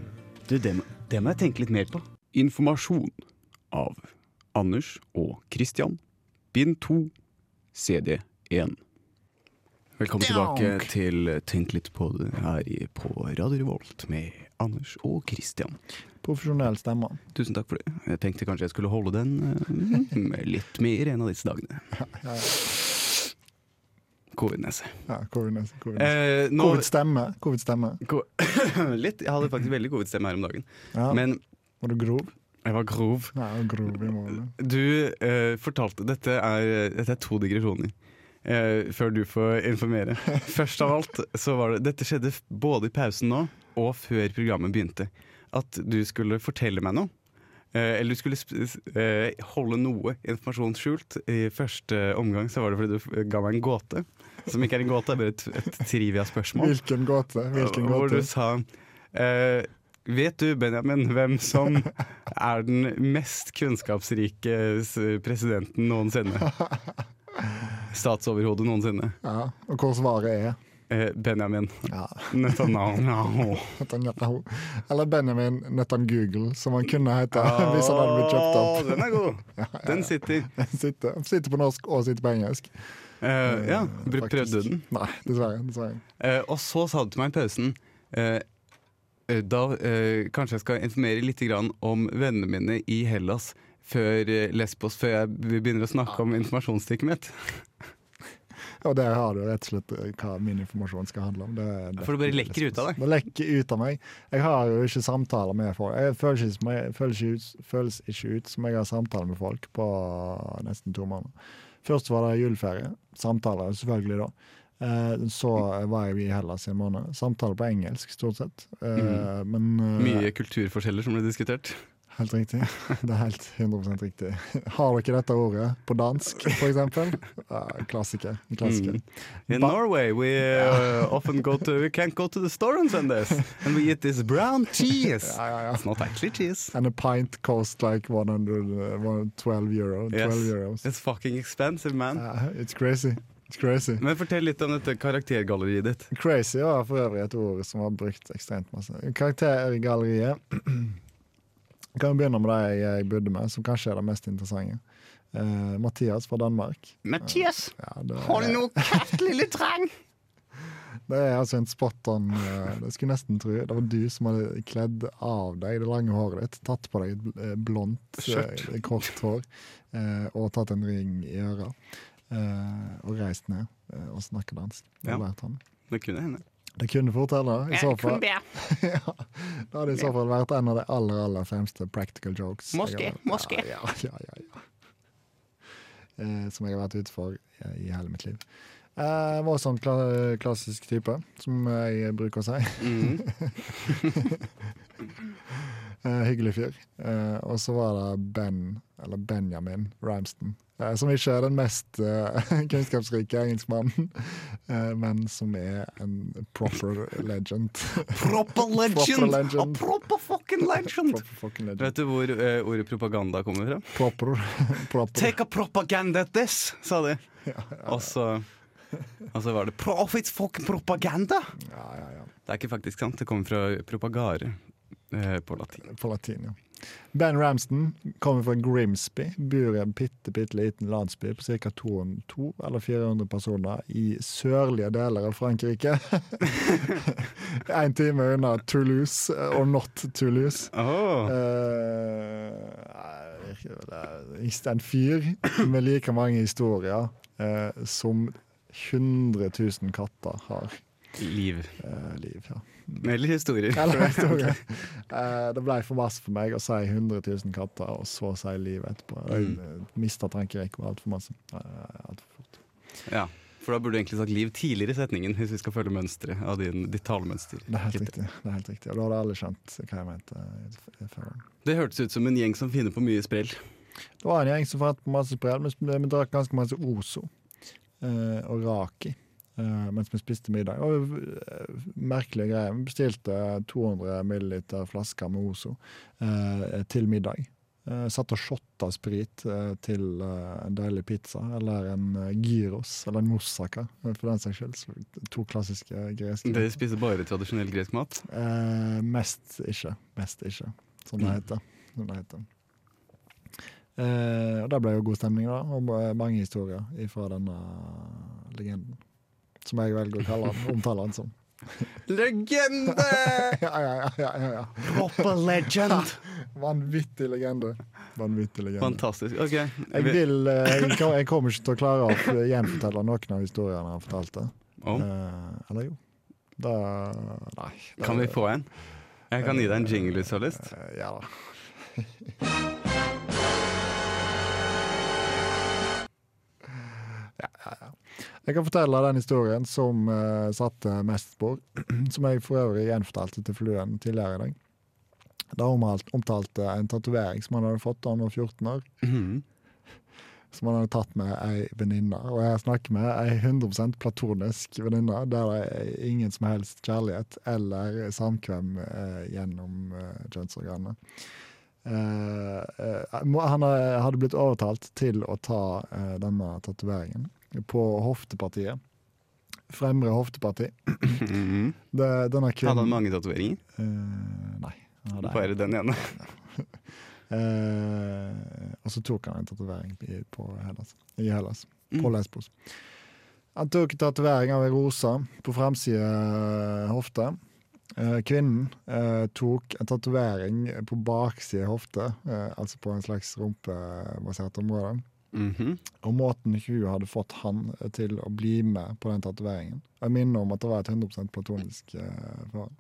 Speaker 1: Du, det må, det må jeg tenke litt mer på.
Speaker 6: Informasjon av Anders og Christian. Bind 2, CD 1.
Speaker 1: Velkommen tilbake til Tenk litt på det her i- på Radio Revolt med Anders og Christian.
Speaker 2: Profesjonell stemme.
Speaker 1: Tusen takk for det. Jeg tenkte kanskje jeg skulle holde den eh, [laughs] mm, litt mer en av disse dagene.
Speaker 2: ja.
Speaker 1: Covid-nese.
Speaker 2: Ja, covid covid
Speaker 1: Eh, nå,
Speaker 2: Covid-stemme. Covid-stemme.
Speaker 1: ko- [laughs] litt, jeg hadde faktisk veldig covid-stemme her om dagen.
Speaker 2: Ja.
Speaker 1: Men
Speaker 2: Var du grov?
Speaker 1: jeg var grov.
Speaker 2: Nei, jeg var grov i morgen.
Speaker 1: Du eh, fortalte Dette er, dette er to digresjoner. eh, før du får informere. Først av alt så var det Dette skjedde f- både i pausen nå og før programmet begynte. At du skulle fortelle meg noe. eh, eller du skulle sp s- eh, holde noe informasjon skjult. I første omgang så var det fordi du f- ga meg en gåte. Som ikke er en gåte, det er bare et, et trivia-spørsmål.
Speaker 2: Hvilken gåte? Hvilken
Speaker 1: Hvor
Speaker 2: gåte?
Speaker 1: du sa eh, Vet du, Benjamin, hvem
Speaker 2: [laughs]
Speaker 1: som er den mest kunnskapsrike s-
Speaker 2: [laughs]
Speaker 1: presidenten noensinne? Statsoverhodet noensinne.
Speaker 2: Ja, og hvor svaret er?
Speaker 1: eh, Benjamin
Speaker 2: Ja. [laughs]
Speaker 1: Netanyahu.
Speaker 2: Netanyahu. Eller Benjamin Netangugle, som han kunne hete [laughs] hvis han hadde blitt
Speaker 1: Å,
Speaker 2: kjøpt [laughs] opp.
Speaker 1: Ah, Den er god! Den sitter.
Speaker 2: Sitter, sitter på norsk og sitter på engelsk.
Speaker 1: Eh, ja, br- prøvde
Speaker 2: Faktisk.
Speaker 1: du den?
Speaker 2: Nei, dessverre. dessverre.
Speaker 1: Eh, og så sa du til meg i pausen eh, eh, Da eh, kanskje jeg skal informere litt grann om vennene mine i Hellas før eh, Lesbos, før jeg begynner å snakke om informasjonsstikket mitt.
Speaker 2: Og der har du rett og slett eh, hva min informasjon skal handle om. Det, er
Speaker 1: For det bare lekker ut av deg.
Speaker 2: Det lekker ut av meg. Jeg har jo ikke samtaler med folk. Jeg føles ikke, som jeg, føles ikke, ut, føles ikke ut som jeg har samtaler med folk på nesten to måneder. Først var det juleferie. Samtaler, selvfølgelig, da. Eh, Så var jeg i Hellas i en måned. Samtaler på engelsk, stort sett. Eh, Men eh,
Speaker 1: Mhm. Mye kulturforskjeller som ble diskutert.
Speaker 2: Helt riktig. [laughs] Det er helt 100 riktig. Har dere dette ordet på dansk,
Speaker 1: [laughs]
Speaker 2: f.eks.? Klassiker. en klassiker.
Speaker 1: Mm. In
Speaker 2: Ba-
Speaker 1: Norway we uh, often go to We can't go to the store and send this. And we eat this brown cheese.
Speaker 2: Ja, ja, ja.
Speaker 1: It's not actually cheese.
Speaker 2: And a pint cost like 100, uh, 112 euro. 12
Speaker 1: Yes.
Speaker 2: euros.
Speaker 1: It's fucking expensive, man.
Speaker 2: Ja, it's crazy. It's crazy.
Speaker 1: Men fortell litt om dette karaktergalleriet ditt.
Speaker 2: Crazy var for øvrig et ord som var brukt ekstremt masse. Karaktergalleriet [clears throat] Kan jo begynne med det jeg bodde med, som kanskje er det mest interessante. Eh, Mathias fra Danmark.
Speaker 5: Mathias,
Speaker 2: Ja, det,
Speaker 5: hold nå kjeft, lille trang.
Speaker 2: det er altså en spot on eh, Jeg skulle nesten tro det var du som hadde kledd av deg det lange håret ditt, tatt på deg et bl- eh, blondt, eh, kort hår eh, og tatt en ring i øret. eh, og reist ned eh, og snakket dansk.
Speaker 1: Ja.
Speaker 2: Og lært han.
Speaker 1: Det kunne hende.
Speaker 2: Det kunne fort hende. I så fall
Speaker 5: Jeg kunne det.
Speaker 2: [laughs] ja, det hadde i så fall vært en av de aller aller fremste practical jokes. jeg har
Speaker 5: Moské,
Speaker 2: vært-
Speaker 5: moské.
Speaker 2: Ja, ja, ja, ja. Eh, som jeg har vært ute for eh, i hele mitt liv. Eh, var sånn kla klassisk type, som jeg bruker å si. [laughs]
Speaker 1: Mhm.
Speaker 2: eh, hyggelig fyr. Eh, og så var det Ben, eller Benjamin Ramston, eh, som ikke er den mest eh, [laughs] kunnskapsrike engelskmannen, [laughs] eh, men som er en proper legend. [laughs]
Speaker 1: Proper legend!
Speaker 2: Proper
Speaker 1: A
Speaker 2: legend.
Speaker 1: proper fucking legend!
Speaker 2: proper fucking legend.
Speaker 1: Vet du hvor eh, ordet propaganda kommer fra?
Speaker 2: Proper, proper.
Speaker 1: Take a propaganda at this, sa de. Og så og så var det Profits fucking propaganda!
Speaker 2: Ja, ja, ja.
Speaker 1: Det er ikke faktisk sant, det kommer fra propagare eh, på latin.
Speaker 2: på latin, ja. Ben Ramston kommer fra Grimsby, bor i en bitte, bitte liten landsby på ca. 200 eller 400 personer i sørlige deler av Frankrike. [laughs] Én time unna Toulouse, eh, og not Toulouse.
Speaker 1: Åh,
Speaker 2: Eh, det er en fyr med like mange historier eh, som 100 000 katter har
Speaker 1: Liv.
Speaker 2: eh, liv. Ja.
Speaker 1: Eller historier.
Speaker 2: Eller, [laughs] historie. Eh, det ble for masse for meg å si 100 000 katter, og så si livet etterpå. Jeg mm. mista tankerekka altfor masse. Eh, alt for fort.
Speaker 1: Ja. For da burde du egentlig sagt liv tidligere i setningen, hvis vi skal følge mønsteret av din, ditt talemønster.
Speaker 2: Det er helt riktig. det er helt riktig. Og da hadde alle skjønt hva jeg mente. eh, før.
Speaker 1: Det hørtes ut som en gjeng som finner på mye sprell.
Speaker 2: Det var en gjeng som fant på masse sprell, men vi- vi drakk ganske masse Ozo eh, og Raki. eh, mens vi spiste middag. Og, eh, merkelige greier. Vi bestilte 200 ml flasker med Ozo eh, til middag. Eh, satt og shotta sprit eh, til eh, en deilig pizza eller en eh, gyros eller en moussaka, eh, for den saks skyld. Så To klassiske greske.
Speaker 1: Dere spiser bare tradisjonell gresk mat.
Speaker 2: Eh, mest ikke. Mest ikke, som
Speaker 1: Mm.
Speaker 2: det heter. Som det heter. Eh, og det ble jo god stemning, da, og ma- mange historier fra denne legenden. Som jeg velger å kalle han, omtale han som.
Speaker 1: Legende!
Speaker 2: [laughs] Ja, ja, ja, ja, ja, ja.
Speaker 1: Proper legend!
Speaker 2: Vanvittig legende. Vanvittig legende.
Speaker 1: Fantastisk. Ok.
Speaker 2: Jeg, vil, eh, jeg kom- jeg kommer ikke til å klare å f- gjenfortelle noen av historiene han fortalte.
Speaker 1: Om.
Speaker 2: Eh, eller jo. Da Nei. Da,
Speaker 1: Kan vi få en? Jeg kan gi deg en jingle hvis du har lyst.
Speaker 2: eh, Ja da. Jeg kan fortelle den historien som eh, satte mest spor, [clears throat] som jeg for øvrig gjenfortalte til Fluen tidligere i dag. Da omhalt- omtalte jeg en tatovering som han hadde fått da han var 14 år, som han hadde tatt med ei venninne. Og jeg snakker med ei 100 platonisk venninne, der det er ingen som helst kjærlighet eller samkvem eh, gjennom eh, kjønnsorganene. Eh, eh, må- han eh, hadde blitt overtalt til å ta eh, denne tatoveringen på hoftepartiet. Fremre hofteparti.
Speaker 1: Mhm.
Speaker 2: Det, denne
Speaker 1: Hadde han
Speaker 2: kvinnen
Speaker 1: mange tatoveringer?
Speaker 2: Eh, Nei. han hadde
Speaker 1: Bare den ene.
Speaker 2: Eh, og så tok han en tatovering i- på Hellas. I Hellas. På Lesbos. Han tok en tatovering av en rose på framsida eh, hofte. Eh, kvinnen eh, tok en tatovering på baksida hofte, eh, altså på en slags rumpebasert område.
Speaker 1: Mhm.
Speaker 2: Og måten hun hadde fått han eh, til å bli med på den tatoveringen Jeg minner om at det var et 100 platonisk eh, forhold.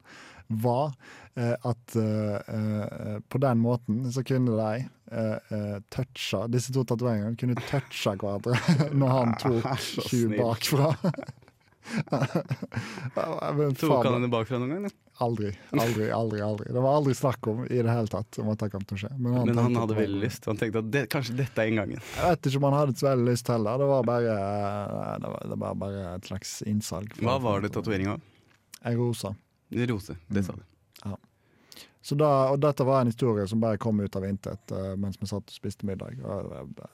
Speaker 2: Var eh, at eh, eh, på den måten så kunne de eh, eh, toucha Disse to tatoveringene kunne toucha hverandre [laughs] når han
Speaker 1: Ah, så
Speaker 2: tok hun
Speaker 1: snill. [laughs]
Speaker 2: bakfra. Men
Speaker 1: Tok han
Speaker 2: faen,
Speaker 1: henne bakfra noen gang? da?
Speaker 2: aldri, aldri, aldri. aldri Det var aldri snakk om i det hele tatt om at det kom til å skje.
Speaker 1: Men han
Speaker 2: tenkte
Speaker 1: hadde
Speaker 2: på-
Speaker 1: veldig lyst. Han tenkte at det, kanskje dette er inngangen.
Speaker 2: jeg vet ikke om han hadde så veldig lyst heller. Det var bare, eh, det var, det var bare et slags innsalg.
Speaker 1: Hva var det tatoveringa av?
Speaker 2: En rose.
Speaker 1: Rose. Det sa du.
Speaker 2: Så da, og dette var en historie som bare kom ut av intet eh, mens vi satt og spiste middag. Og det var-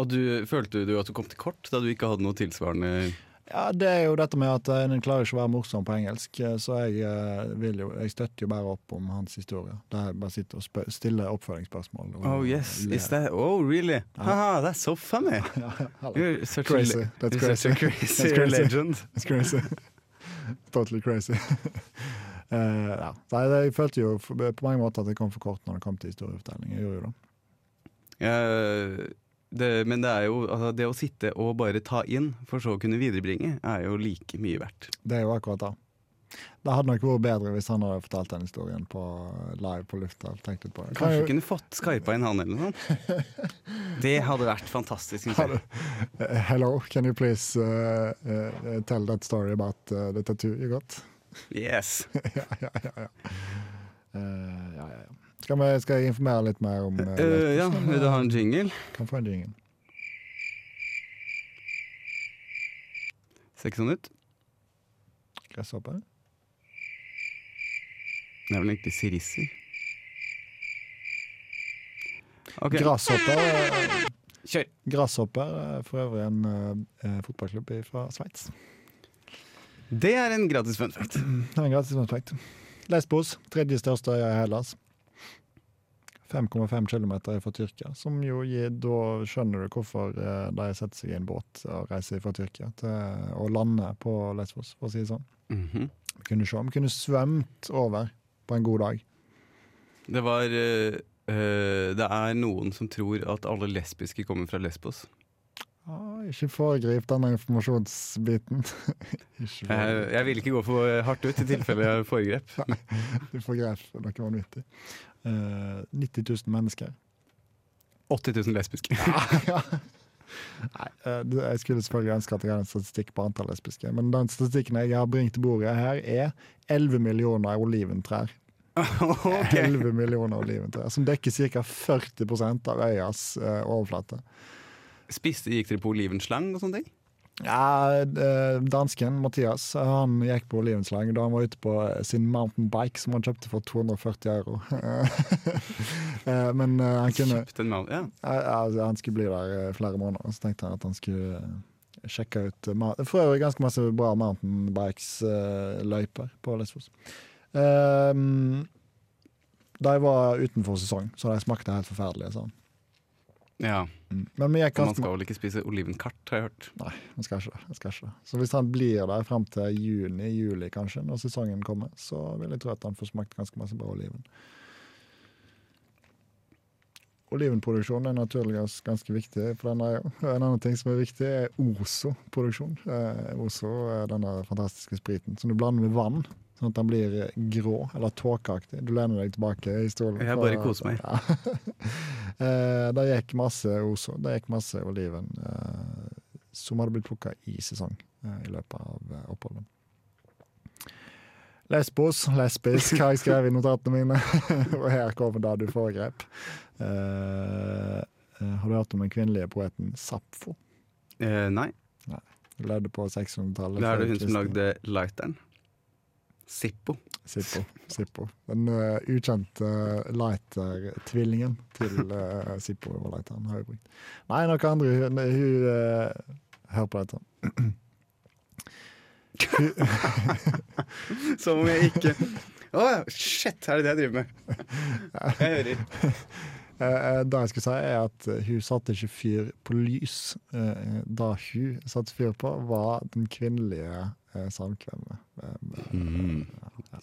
Speaker 1: Og du, følte du at du kom til kort da du ikke hadde noe tilsvarende
Speaker 2: Ja, Det er jo dette med at eh, en klarer ikke å være morsom på engelsk, eh, så jeg, eh, vil jo, jeg støtter jo bare opp om hans historie. Der jeg bare sitter og spør, stiller oppfølgingsspørsmål. og
Speaker 1: Oh yes,
Speaker 2: ler.
Speaker 1: is that Oh really? Haha, that's so funny!
Speaker 2: [laughs]
Speaker 1: You're such
Speaker 2: Crazy.
Speaker 1: a,
Speaker 2: That's
Speaker 1: you're such a
Speaker 2: crazy.
Speaker 1: crazy
Speaker 2: That's crazy.
Speaker 1: legend.
Speaker 2: It's crazy. [laughs] totally crazy. [laughs] Eh, ja. Nei, det- jeg følte jo f- på mange måter at jeg kom for kort når det kom til historiefortelling. Jeg gjorde jo det.
Speaker 1: Eh, det, men det er jo altså, det å sitte og bare ta inn, for så å kunne viderebringe, er jo like mye verdt.
Speaker 2: Det er jo akkurat det. Det hadde nok vært bedre hvis han hadde fortalt den historien på live på lufta. Tenkt litt på det.
Speaker 1: Kanskje
Speaker 2: Kan
Speaker 1: du
Speaker 2: jo-
Speaker 1: kunne fått skarpa inn han eller noe sånt.
Speaker 2: [laughs]
Speaker 1: Det hadde vært fantastisk. Synes jeg.
Speaker 2: Eh, Hello, can you please eh, eh, tell that story about eh, the tattoo you got?
Speaker 1: Yes.
Speaker 2: ja, ja, ja, ja. Eh, ja, ja, ja. Skal, vi, skal jeg informere litt mer om eh,
Speaker 1: Eh, ja,
Speaker 2: Lesbos,
Speaker 1: vil du
Speaker 2: eller?
Speaker 1: ha en jingle?
Speaker 2: Kan få en jingle.
Speaker 1: Ser ikke sånn ut.
Speaker 2: Gresshopper?
Speaker 1: Det er vel egentlig sirisser. Ok,
Speaker 2: Grasshopper eh,
Speaker 1: kjør.
Speaker 2: Grasshopper er for øvrig en eh, eh, fotballklubb fra Sveits.
Speaker 1: Det er en gratis fun fact.
Speaker 2: Det er en gratis aspekt. Lesbos, tredje største øya i Hellas. 5,5 km fra Tyrkia, som jo gir Da skjønner du hvorfor eh, de setter seg i en båt og reiser fra Tyrkia til, og lander på Lesbos, for å si det sånn.
Speaker 1: Mhm.
Speaker 2: Vi kunne se, vi kunne svømt over på en god dag.
Speaker 1: Det var eh, eh, Det er noen som tror at alle lesbiske kommer fra Lesbos.
Speaker 2: Ah, ikke foregrip denne informasjonsbiten. [laughs] ikke
Speaker 1: Jeg,
Speaker 2: foregrip.
Speaker 1: Eh, jeg ville ikke gå for hardt ut i tilfelle jeg foregrep.
Speaker 2: Du får grep noe vanvittig. Eh, 90 000 mennesker.
Speaker 1: 80 000 lesbiske.
Speaker 2: Nei, eh, det- jeg skulle selvfølgelig ønske at jeg hadde en statistikk på antall lesbiske, men den statistikken jeg har bringt til bordet her, er 11 millioner oliventrær.
Speaker 1: ok,
Speaker 2: 11 millioner oliventrær, Som dekker ca. 40 av øyas eh, overflate.
Speaker 1: Spiste, Gikk dere på olivenslang og sånne ting?
Speaker 2: Ja, eh, dansken Mathias han gikk på olivenslang da han var ute på sin mountain bike, som han kjøpte for 240 euro. [laughs] Eh, men eh, han kunne
Speaker 1: Kjøpte en mal- ja.
Speaker 2: Ja, Altså, han skulle bli der eh, flere måneder, så tenkte han at han skulle eh, sjekke ut eh, ma- For øvrig ganske masse bra mountainbikes-løyper på Lesvos. Ehm, de var utenfor sesong, så de smakte helt forferdelige. Sånn.
Speaker 1: ja.
Speaker 2: Mm. Men vi gikk
Speaker 1: For man
Speaker 2: ganske
Speaker 1: skal vel ikke spise olivenkart, har jeg hørt.
Speaker 2: Nei, man skal ikke det. Man skal ikke det. Så hvis han blir der fram til juni-juli, kanskje, når sesongen kommer, så vil jeg tro at han får smakt ganske masse bra oliven. Olivenproduksjon er naturligvis ganske viktig for denne øya. [laughs] En annen ting som er viktig, er Ozo-produksjon. Eh, Ozo er denne fantastiske spriten som du blander med vann, sånn at den blir grå eller tåkeaktig. Du lener deg tilbake i stolen.
Speaker 1: Jeg bare koser meg.
Speaker 2: [laughs] Eh, Det gikk masse oso, det gikk masse oliven eh, som hadde blitt plukka i sesong eh, i løpet av eh, oppholdet. Lesbos, lesbisk, har jeg skrevet i notatene mine. [laughs] Og her kommer det du foregrep. Eh, eh, har du hørt om den kvinnelige poeten Sapfo?
Speaker 1: Eh, nei.
Speaker 2: Hun Levde på 600-tallet.
Speaker 1: Da er det
Speaker 2: før
Speaker 1: hun som
Speaker 2: Kristi.
Speaker 1: lagde lighteren. Zippo.
Speaker 2: Sippo. Sippo. Den eh, ukjente eh, lighter-tvillingen til uh, eh, Sippo-lighteren har jeg brukt. Nei, noen andre Hun, hun eh, Hør på dette.
Speaker 1: [laughs] Som om jeg ikke Å, shit! Er det det jeg driver [laughs] med? Jeg hører.
Speaker 2: [laughs] Eh, eh, Det jeg skulle si, er at eh, hun satte ikke fyr på lys. Eh, Det hun satte fyr på, var den kvinnelige eh, samkvemmet. eh,
Speaker 1: Mm.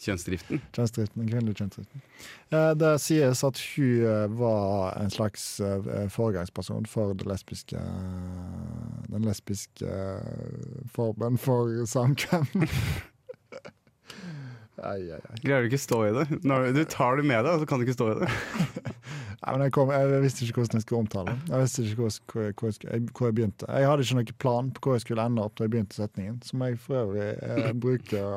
Speaker 1: Kjønnsdriften.
Speaker 2: Kjønnsdriften, den kvinnelige kjønnsdriften. Eh, Det sies at hun eh, var en slags eh, foregangsperson for det lesbiske den lesbiske eh, formen for samkvem. [laughs] Ai, ai, ai.
Speaker 1: Greier du ikke stå i det? Når du tar det med deg, og så kan du ikke stå i det.
Speaker 2: Nei, men jeg, kom, jeg visste ikke hvordan jeg skulle omtale det. Jeg visste ikke hvor, hvor, hvor, jeg, skulle- hvor jeg begynte. Jeg hadde ikke noen plan på hvor jeg skulle ende opp da jeg begynte setningen, som jeg for øvrig eh, bruker å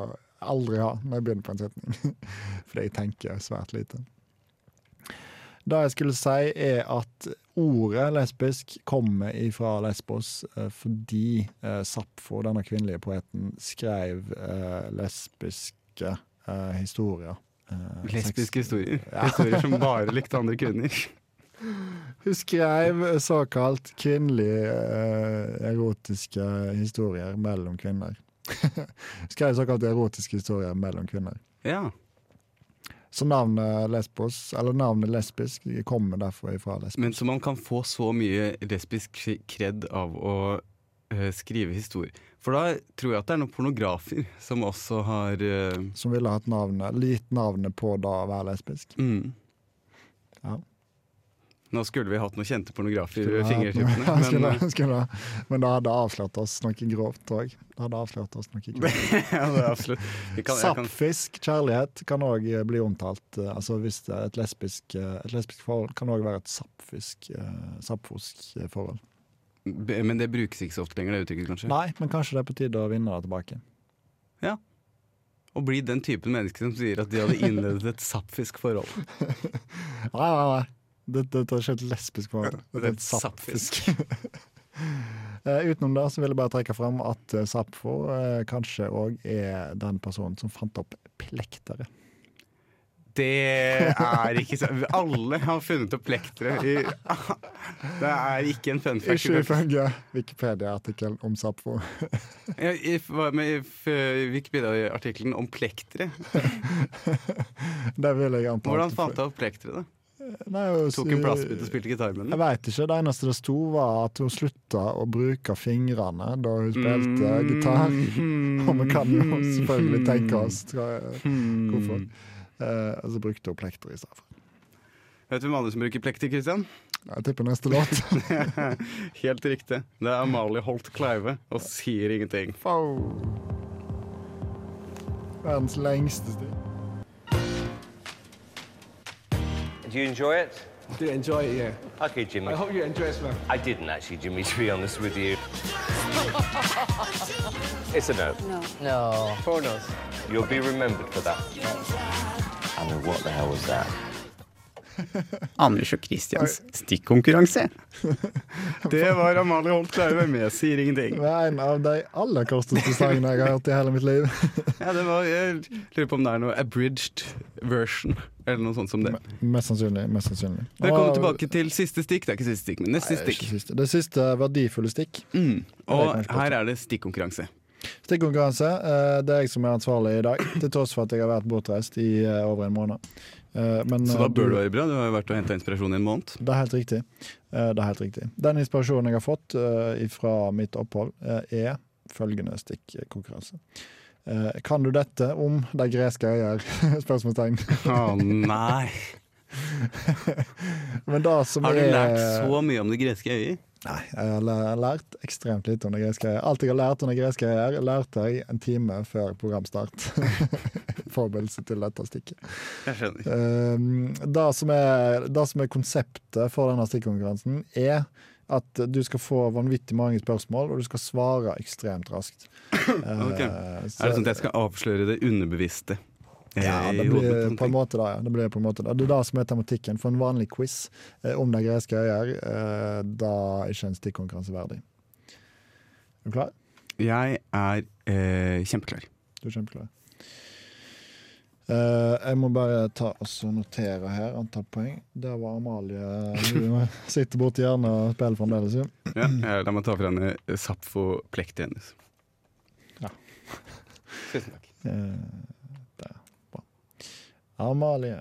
Speaker 2: aldri ha når jeg begynner på en setning. [laughs] Fordi jeg tenker svært lite. Det jeg skulle si, er at ordet lesbisk kommer ifra Lesbos eh, fordi eh, Sappho, denne kvinnelige poeten, skrev eh, lesbiske eh, historier. Eh,
Speaker 1: Lesbiske
Speaker 2: seks-
Speaker 1: historier. Historier som bare likte andre kvinner.
Speaker 2: Hun skrev såkalt kvinnelige eh, erotiske historier mellom kvinner. [laughs] Hun skrev såkalt erotiske historier mellom kvinner.
Speaker 1: Ja.
Speaker 2: Så navnet lesbos, eller navnet lesbisk kommer derfor ifra lesbisk.
Speaker 1: Men så man kan få så mye lesbisk kred av å eh, skrive historier. For da tror jeg at det er noen pornografer som også har eh,
Speaker 2: Som ville hatt navnet, litt navnet på da å være lesbisk.
Speaker 1: mm.
Speaker 2: Ja.
Speaker 1: Nå skulle vi hatt noen kjente pornografer
Speaker 2: Skulle
Speaker 1: ved
Speaker 2: ha- [laughs]
Speaker 1: fingertuppene,
Speaker 2: skulle,
Speaker 1: men
Speaker 2: skulle, ha- men det hadde avslørt oss noe grovt òg. Det hadde avslørt oss noe grovt.
Speaker 1: [laughs] ja, det er absolutt. Jeg kan, jeg kan,
Speaker 2: Sappfisk, kjærlighet, kan òg bli omtalt. eh, Altså hvis det er et lesbisk, eh, et lesbisk forhold kan òg være et sappfisk, eh, sappfosk eh, forhold.
Speaker 1: b- men det brukes ikke så ofte lenger, det uttrykket kanskje?
Speaker 2: Nei, men kanskje det er på tide å vinne det
Speaker 1: [laughs]
Speaker 2: tilbake.
Speaker 1: Å bli den typen menneske som sier at de hadde innledet et sapfisk forhold.
Speaker 2: Nei, nei, nei. Dette, dette er ikke et lesbisk forhold. Dette er et sappfisk. Eh, utenom det så vil jeg bare trekke fram at eh, Sappho eh, kanskje òg er den personen som fant opp plektere.
Speaker 1: Det er ikke så Alle har funnet opp plektere. I, det er ikke en fun fact.
Speaker 2: Ikke ifølge Wikipedia-artikkelen om
Speaker 1: [laughs]
Speaker 2: Sappho.
Speaker 1: Ja, i- Hva med if, eh, Wikipedia-artikkelen om plektere?
Speaker 2: Det vil jeg anta.
Speaker 1: Hvordan fant jeg opp plektere? da?
Speaker 2: jeg
Speaker 1: Tok en plastbit og spilte gitar med
Speaker 2: Jeg
Speaker 1: den?
Speaker 2: veit ikke. Det eneste det sto, var at hun slutta å bruke fingrene da hun spilte
Speaker 1: Mm.
Speaker 2: eh, gitar. [laughs] Og vi kan jo selvfølgelig tenke oss tror jeg,
Speaker 1: Mm.
Speaker 2: hvorfor. Eh, og så brukte hun plekter i stedet. for.
Speaker 1: Vet du hvem andre som bruker plekter, Christian?
Speaker 2: Jeg tipper neste låt.
Speaker 1: [laughs] Helt riktig. Det er Amalie Holt Kleive og sier ingenting.
Speaker 2: Wow. Verdens lengste stil.
Speaker 7: Do you enjoy it?
Speaker 8: Do enjoy it, yeah.
Speaker 7: Okay, Jimmy.
Speaker 8: I hope you enjoy it, man.
Speaker 7: I didn't actually, Jimmy, to be honest with you. it's a no.
Speaker 8: No. Pornos.
Speaker 7: You'll be remembered for that. I mean, what the hell was that?
Speaker 6: Anders og Kristians stikkonkurranse.
Speaker 1: [laughs] Det var Amalie Holt Kleive med Sier ingenting.
Speaker 2: Det er en av de aller korteste sangene jeg har hørt i hele mitt liv.
Speaker 1: Ja, det var, jeg lurer på om det er noe abridged version, eller noe sånt som det.
Speaker 2: Mest sannsynlig. mest sannsynlig.
Speaker 1: Velkommen
Speaker 2: Og-
Speaker 1: tilbake til siste stikk. Det er ikke siste stikk, men neste
Speaker 2: Nei, det er ikke
Speaker 1: stikk.
Speaker 2: siste. Det siste verdifulle stikk.
Speaker 1: Mm.
Speaker 2: Det er
Speaker 1: Og
Speaker 2: kanskje
Speaker 1: her er det stikkonkurranse.
Speaker 2: Stikkonkurranse. eh, Det er jeg som er ansvarlig i dag, til tross for at jeg har vært bortreist i eh, over en måned. Eh, Men,
Speaker 1: Så da
Speaker 2: eh,
Speaker 1: bør det være bra. Du har jo vært og henta inspirasjon i en
Speaker 2: [laughs]
Speaker 1: måned.
Speaker 2: Det er helt riktig. Eh, Det er helt riktig. Den inspirasjonen jeg har fått fra mitt opphold, eh, er følgende stikkonkurranse. Eh, Kan du dette om de greske øyer? [laughs] Spørsmålstegn.
Speaker 1: Å nei.
Speaker 2: Men det
Speaker 1: [laughs]
Speaker 2: som
Speaker 1: Har du
Speaker 2: er-
Speaker 1: lært så mye om det greske øyet?
Speaker 2: Nei, jeg har læ- lært ekstremt lite om de greske øyer. Alt jeg har lært om de greske øyer, lærte jeg en time før programstart. [laughs] Forberedelse til dette stikket.
Speaker 1: Jeg skjønner.
Speaker 2: Um, det, som er, det som er konseptet for denne stikkonkurransen, er at du skal få vanvittig mange spørsmål, og du skal svare ekstremt
Speaker 1: [coughs]
Speaker 2: raskt.
Speaker 1: Ok.
Speaker 2: Eh, så-
Speaker 1: Er det sånn at jeg skal avsløre det underbevisste? eh,
Speaker 2: ja,
Speaker 1: i
Speaker 2: det
Speaker 1: hodet mitt,
Speaker 2: blir
Speaker 1: sånn
Speaker 2: på en
Speaker 1: ting?
Speaker 2: måte det, ja. Det blir på en måte det. Det er det som er tematikken for en vanlig quiz eh, om de greske øyer. Eh, da er ikke en stikkonkurranse verdig. Er du klar?
Speaker 1: Jeg er eh, kjempeklar.
Speaker 2: Du er kjempeklar. Eh, jeg må bare ta og så notere her antall poeng. Der var Amalie. Hun sitter borti hjørnet og spiller fremdeles. jo.
Speaker 1: Ja, eh, la meg ta fra henne Sapfo-plektet hennes.
Speaker 2: Ja.
Speaker 7: Tusen takk.
Speaker 2: Eh, Der. Bra. Amalie.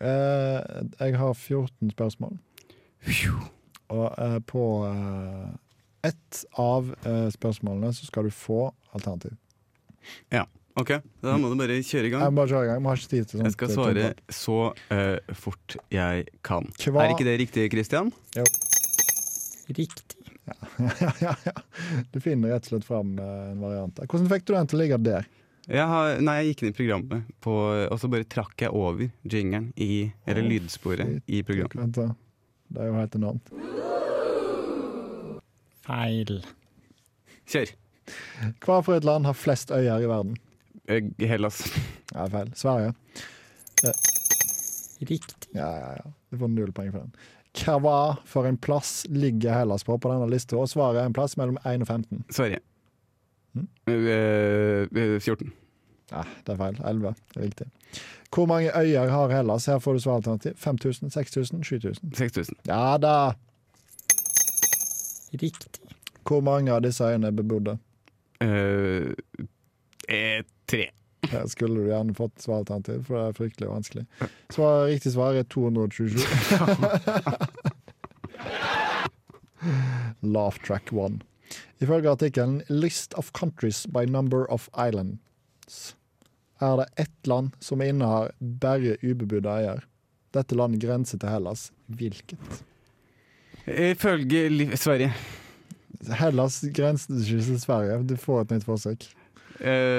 Speaker 2: Eh, jeg har 14 spørsmål. Og eh, på eh, ett av eh, spørsmålene så skal du få alternativ.
Speaker 1: Ja, ok. Da må du bare kjøre i
Speaker 2: Jeg
Speaker 1: gang.
Speaker 2: må bare kjøre i gang. Vi har ikke tid til sånt.
Speaker 1: Mm. Jeg skal
Speaker 2: eh,
Speaker 1: svare
Speaker 2: tullprat.
Speaker 1: så eh, fort jeg kan.
Speaker 2: Kva-
Speaker 1: Er ikke det riktig, Christian?
Speaker 6: Riktig.
Speaker 2: [laughs] ja, ja, ja. Du finner rett og slett fram eh, en variant. der. Hvordan fikk du den til å ligge der?
Speaker 1: Jeg har, nei, jeg gikk inn i programmet, på, og så bare trakk jeg over jingeren i Eller
Speaker 2: Å,
Speaker 1: lydsporet i programmet.
Speaker 2: Vent da. Det er jo helt enormt.
Speaker 6: Feil.
Speaker 1: Kjør!
Speaker 2: Hva for et land har flest øyer i verden?
Speaker 1: Eh, Hellas. [laughs]
Speaker 2: Ja, feil. Sverige. Eh.
Speaker 6: Riktig.
Speaker 2: Ja, ja, ja. Du får null poeng for den. Hva for en plass ligger Hellas på på denne lista? Og svaret er en plass mellom 1 og 15.
Speaker 1: Sverige.
Speaker 2: Mm.
Speaker 1: Eh, eh, 14.
Speaker 2: Nei, det er feil. 11. Det er riktig. Hvor mange øyer har Hellas? Her får du svaralternativ. 5000, 6000, 7000.
Speaker 1: 6000.
Speaker 2: Ja da!
Speaker 6: Riktig.
Speaker 2: Hvor mange av disse øyene er bebodde?
Speaker 1: Eh, eh, tre.
Speaker 2: Her skulle du gjerne fått svaralternativ, for det er fryktelig vanskelig. Svar, riktig svar er 227. [laughs] Laugh track one. Ifølge artikkelen 'List of countries by number of islands' er det ett land som innehar bare ubebudde øyer. Dette landet grenser til Hellas. Hvilket?
Speaker 1: Ifølge Liv- Sverige.
Speaker 2: Hellas grenser ikke til Sverige. Du får et nytt forsøk.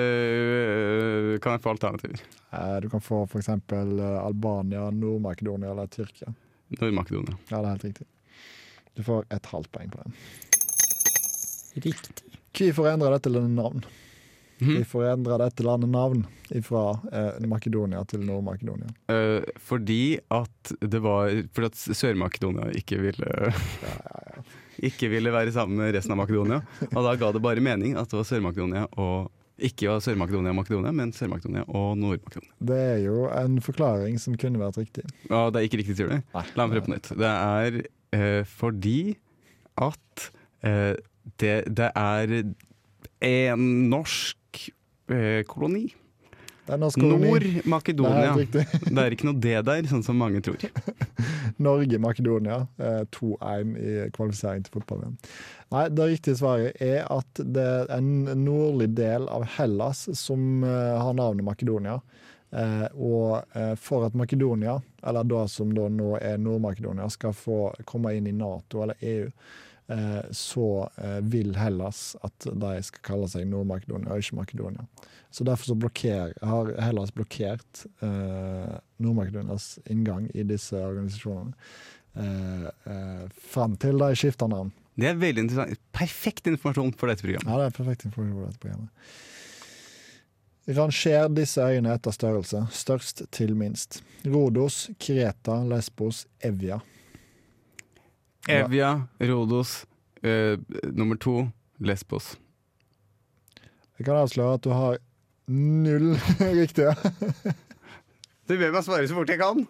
Speaker 1: Eh, kan jeg få alternativer?
Speaker 2: Eh, Du kan få f.eks. Albania, Nord-Makedonia eller Tyrkia.
Speaker 1: Nord-Makedonia.
Speaker 2: Ja, det er helt riktig. Du får et halvt poeng på den.
Speaker 6: Riktig.
Speaker 2: Hvorfor endra dette landet navn?
Speaker 1: Mhm.
Speaker 2: Hvorfor endra dette landet navn fra eh, Makedonia til Nord-Makedonia?
Speaker 1: Eh, fordi at det var Fordi at Sør-Makedonia ikke ville [laughs] Ikke ville være sammen med resten av Makedonia. Og da ga det bare mening at det var Sør-Makedonia og Ikke var Sør-Makedonia og Makedonia, men Sør-Makedonia og Nord-Makedonia.
Speaker 2: Det er jo en forklaring som kunne vært riktig.
Speaker 1: Og det er ikke riktig, sier du?
Speaker 2: Nei.
Speaker 1: La meg prøve på nytt. Det er eh, fordi at eh, det, det er en norsk eh, koloni.
Speaker 2: Det er norsk koloni. Det er
Speaker 1: Nord-Makedonia.
Speaker 2: helt riktig.
Speaker 1: Det er ikke noe det der, sånn som mange tror.
Speaker 2: [laughs] Norge-Makedonia. Eh, 2-1 i kvalifisering til fotball-VM. Nei, det riktige svaret er at det er en nordlig del av Hellas som eh, har navnet Makedonia. Eh, og eh, for at Makedonia, eller da som da nå er Nord-Makedonia, skal få komme inn i Nato eller EU, eh, så eh, vil Hellas at de skal kalle seg Nord-Makedonia og ikke Makedonia. Så derfor så blokker, har Hellas blokkert eh, Nord-Makedonias inngang i disse organisasjonene. Eh, eh, Fram til de skifter navn.
Speaker 1: Det er veldig interessant. Perfekt informasjon for dette programmet.
Speaker 2: Ja, det er perfekt informasjon på dette programmet. Ranger disse øyene etter størrelse. Størst til minst. Rodos, Kreta, Lesbos, Evja. Ja.
Speaker 1: Evja, Rodos, eh, nummer to, Lesbos.
Speaker 2: Jeg kan avsløre at du har null [laughs] riktige.
Speaker 1: Du ber meg svare så fort jeg kan!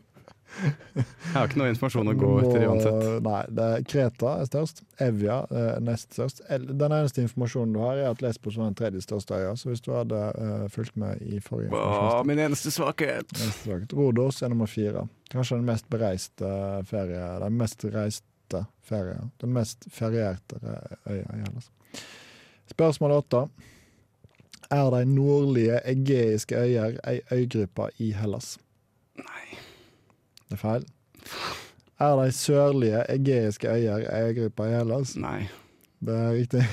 Speaker 1: Jeg har ikke noe informasjon å gå etter uansett.
Speaker 2: Nå- Nei, det er Kreta er størst. Evja eh, nest størst. El- Den eneste informasjonen du har, er at Lesbos var den tredje største øya. Så hvis du hadde eh, fulgt med i forrige
Speaker 1: Å, min eneste svakhet!
Speaker 2: Neste dag. Rodos er nummer fire. Kanskje den mest bereiste ferie Den mest reiste ferie Den mest ferierte re- øya i Hellas. Spørsmål åtte. Er de nordlige egeiske øyer ei øygruppe i Hellas? Nei. Det er feil. Er de sørlige egeiske øyer ei øygruppe i Hellas?
Speaker 1: Nei.
Speaker 2: Det er riktig.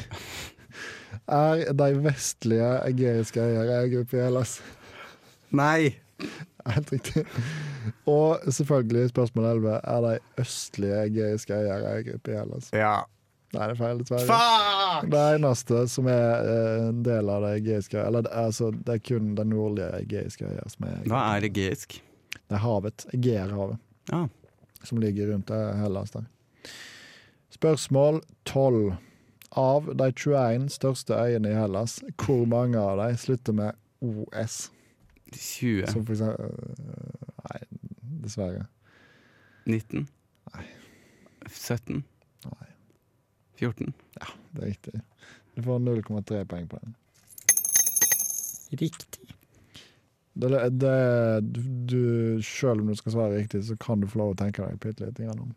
Speaker 2: Er de vestlige egeiske øyer ei øygruppe i Hellas?
Speaker 1: Nei!
Speaker 2: Helt riktig. Og selvfølgelig spørsmål 11. Er de østlige egeiske øyer ei gruppe i Hellas?
Speaker 1: Ja.
Speaker 2: Nei, det er feil, dessverre.
Speaker 1: Fuck!
Speaker 2: Det eneste som er eh, en del av de egeiske Eller det- altså, det er kun den nordlige egeiske øyer som er
Speaker 1: Hva er egeisk?
Speaker 2: Det er havet. Egeerhavet.
Speaker 1: Ja.
Speaker 2: Som ligger rundt eh, Hellas der. Spørsmål 12. Av de 21 største øyene i Hellas, hvor mange av de slutter med OS?
Speaker 1: 20.
Speaker 2: Som for eksempel eh, Nei, dessverre.
Speaker 1: 19. 17. 14.
Speaker 2: Det er riktig. Du får 0,3 poeng på den.
Speaker 6: Riktig.
Speaker 2: Det, det, du, du, selv om du skal svare riktig, så kan du få lov å tenke deg bitte litt grann om.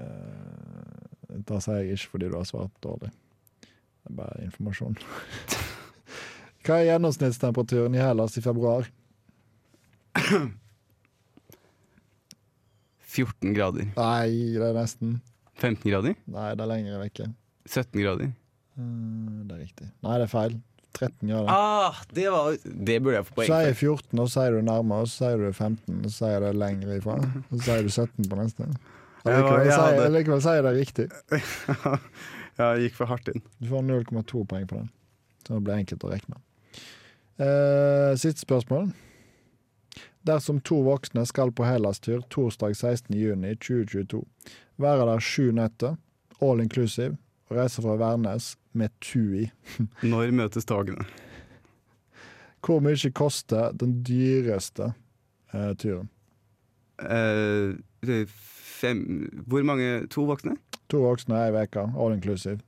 Speaker 2: Eh, det sier jeg ikke fordi du har svart dårlig. Det er bare informasjon. Hva er gjennomsnittstemperaturen i Hellas i februar?
Speaker 1: 14 grader.
Speaker 2: Nei, det er nesten.
Speaker 1: 15 grader?
Speaker 2: Nei, det er lenger vekke.
Speaker 1: 17 [laughs] grader?
Speaker 2: Eh, det er riktig. Nei, det er feil. 13 grader.
Speaker 1: Ah, det, var, det burde jeg få
Speaker 2: Så
Speaker 1: poeng for.
Speaker 2: sier jeg 14, og så sier du nærmere, og så sier du 15, og så sier jeg det lenger ifra. Og så sier du 17 på
Speaker 1: [laughs]
Speaker 2: neste. Og
Speaker 1: Jeg var-
Speaker 2: Likevel
Speaker 1: jeg
Speaker 2: sier
Speaker 1: hadde-
Speaker 2: jeg, likevel sier jeg det riktig.
Speaker 1: Jeg gikk for hardt inn.
Speaker 2: Du får 0,2 poeng på den. Så det blir enkelt å regne. Eh, siste spørsmål. Dersom to voksne skal på Hellas-tur torsdag 16.6.2022, være der sju netter, all inclusive, og reise fra Værnes med Tui.
Speaker 1: Når møtes togene?
Speaker 2: Hvor mye koster den dyreste eh, turen?
Speaker 1: Eh, det er fem Hvor mange? To voksne?
Speaker 2: To voksne ei uke, all inclusive.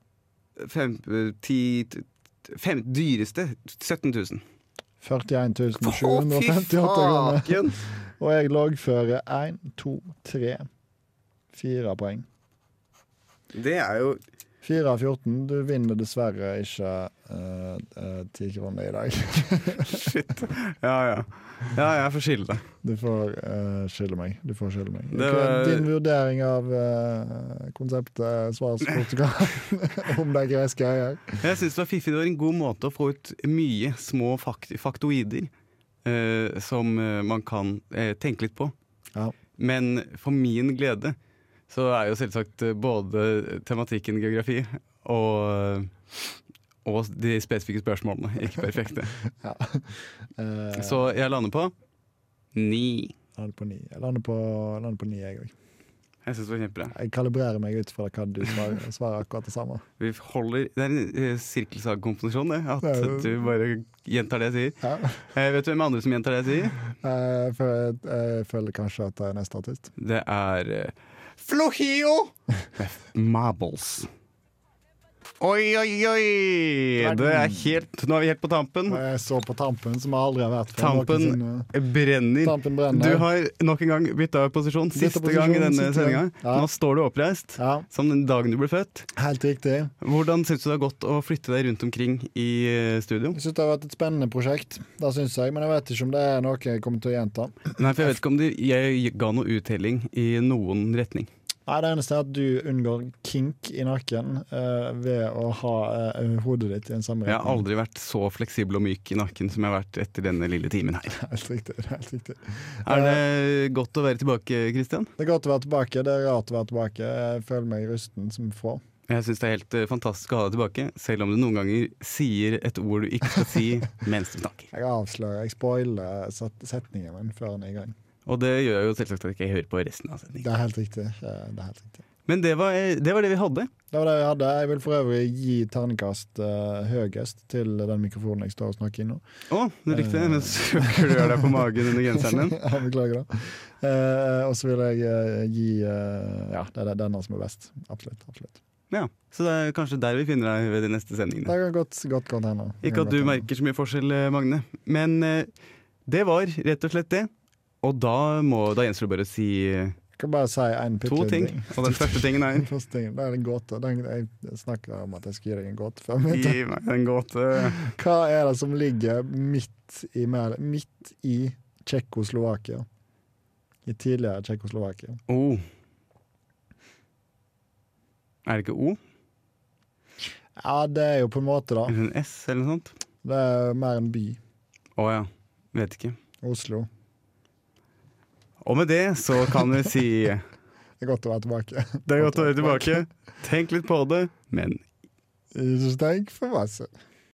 Speaker 1: Fem, eh, ti t- t- fem, Dyreste 17 000.
Speaker 2: 41
Speaker 1: Å,
Speaker 2: 758 kroner.
Speaker 1: faken!
Speaker 2: Og jeg loggfører 1, 2, 3, 4 poeng.
Speaker 1: Det er jo
Speaker 2: 4 av 14. Du vinner dessverre ikke eh, eh, 10 kroner i dag. [laughs]
Speaker 1: Shit. Ja, ja. Ja, jeg får skille det.
Speaker 2: Du får eh, skylde meg. Du får skylde meg.
Speaker 1: Det
Speaker 2: Ok,
Speaker 1: var-
Speaker 2: Din vurdering av eh, konseptet svarsportugal, [laughs] om de greske eier.
Speaker 1: Jeg syns det var fiffig. Det var en god måte å få ut mye små fakt faktoider eh, som eh, man kan eh, tenke litt på.
Speaker 2: Ja.
Speaker 1: Men for min glede så er jo selvsagt eh, både tematikken geografi og eh, og de spesifikke spørsmålene ikke
Speaker 2: [laughs]
Speaker 1: perfekte.
Speaker 2: Ja. Eh,
Speaker 1: Så jeg lander på ni.
Speaker 2: jeg lander på ni. Jeg lander på, jeg lander på ni, jeg òg.
Speaker 1: Jeg syns det var kjempebra.
Speaker 2: Jeg kalibrerer meg ut fra hva du svarer, svarer akkurat det samme.
Speaker 1: Vi holder, det er en eh, sirkelsagkomposisjon, det. At
Speaker 2: Det er jo-
Speaker 1: du bare gjentar det jeg sier.
Speaker 2: Ja.
Speaker 1: Eh, vet du hvem andre som gjentar det jeg sier?
Speaker 2: Eh, Jeg føler, jeg føler kanskje at det er neste artist.
Speaker 1: Det er eh, Flohio! Marbles. Oi, oi, oi! Det er helt, nå er vi helt på tampen.
Speaker 2: Og jeg så på Tampen, som jeg aldri har vært før.
Speaker 1: Mm. Tampen
Speaker 2: noensinne.
Speaker 1: brenner.
Speaker 2: Tampen brenner.
Speaker 1: Du har nok en gang bytta posisjon.
Speaker 2: Byttet
Speaker 1: Siste
Speaker 2: posisjon,
Speaker 1: gang i denne
Speaker 2: siste
Speaker 1: sendinga.
Speaker 2: gang. Ja.
Speaker 1: Nå står du oppreist,
Speaker 2: Ja,
Speaker 1: som den dagen du ble født.
Speaker 2: helt riktig.
Speaker 1: Hvordan syns du det har gått å flytte deg rundt omkring i eh, studio?
Speaker 2: Jeg syns det har vært et spennende prosjekt, det synes jeg, men jeg vet ikke om det er noe jeg kommer til å gjenta.
Speaker 1: Nei, for jeg vet ikke om det, jeg ga noe uttelling i noen retning.
Speaker 2: Nei, Det eneste er at du unngår kink i nakken eh, ved å ha eh, hodet ditt i den samme
Speaker 1: Jeg har aldri vært så fleksibel og myk i nakken som jeg har vært etter denne lille timen her.
Speaker 2: [laughs] Helt riktig. det er helt riktig.
Speaker 1: Er det godt å være tilbake, Kristian?
Speaker 2: Det er godt å være tilbake. Det er rart å være tilbake. Jeg føler meg rusten som få.
Speaker 1: Jeg syns det er helt eh, fantastisk å ha deg tilbake, selv om du noen ganger sier et ord du ikke skal si [laughs] mens du snakker.
Speaker 2: Jeg avslører, jeg spoiler set- setningen min før den er i gang.
Speaker 1: Og det gjør jeg jo selvsagt at jeg ikke hører på resten av
Speaker 2: Det
Speaker 1: sendingen.
Speaker 2: er helt riktig. eh, Det er helt riktig.
Speaker 1: Men det var, eh, det var det vi hadde.
Speaker 2: Det var det jeg hadde. Jeg vil for øvrig gi terningkast eh, høyest til den mikrofonen jeg står og snakker i nå. Eh,
Speaker 1: Å, du likte det, mens du klør deg på
Speaker 2: [laughs]
Speaker 1: magen under genseren [laughs] din.
Speaker 2: Ja, Beklager, da. Eh, og så vil jeg eh, gi eh, Ja, det er den- denne som er best. Absolutt. absolutt.
Speaker 1: Ja, Så det er kanskje der vi finner deg ved de neste sendingene.
Speaker 2: Det kan godt, godt godt hende.
Speaker 1: Ikke at du merker så mye forskjell, eh, Magne. Men eh, det var rett og slett det. Og da, må, da gjenstår det bare å si eh,
Speaker 2: Jeg kan bare si en
Speaker 1: to
Speaker 2: bitte
Speaker 1: ting. Og den første tingen er [laughs]
Speaker 2: [laughs] Den første tingen, Det er en gåte. Den, jeg snakka om at jeg skulle gi deg en gåte før. Men
Speaker 1: Gi meg en gåte.
Speaker 2: hva er det som ligger midt i, mer- midt i Tsjekkoslovakia? I tidligere Tsjekkoslovakia.
Speaker 1: O. Er det ikke O?
Speaker 2: Ja, det er jo på en måte, da.
Speaker 1: Eller en S, eller noe sånt?
Speaker 2: Det er mer en by.
Speaker 1: Å ja. Vet ikke.
Speaker 2: Oslo.
Speaker 1: Og med det så kan vi si Det
Speaker 2: [laughs] Det er godt å være tilbake. [laughs]
Speaker 1: er godt å være tilbake. Tenk litt på det, men
Speaker 2: Ikke tenk for masse.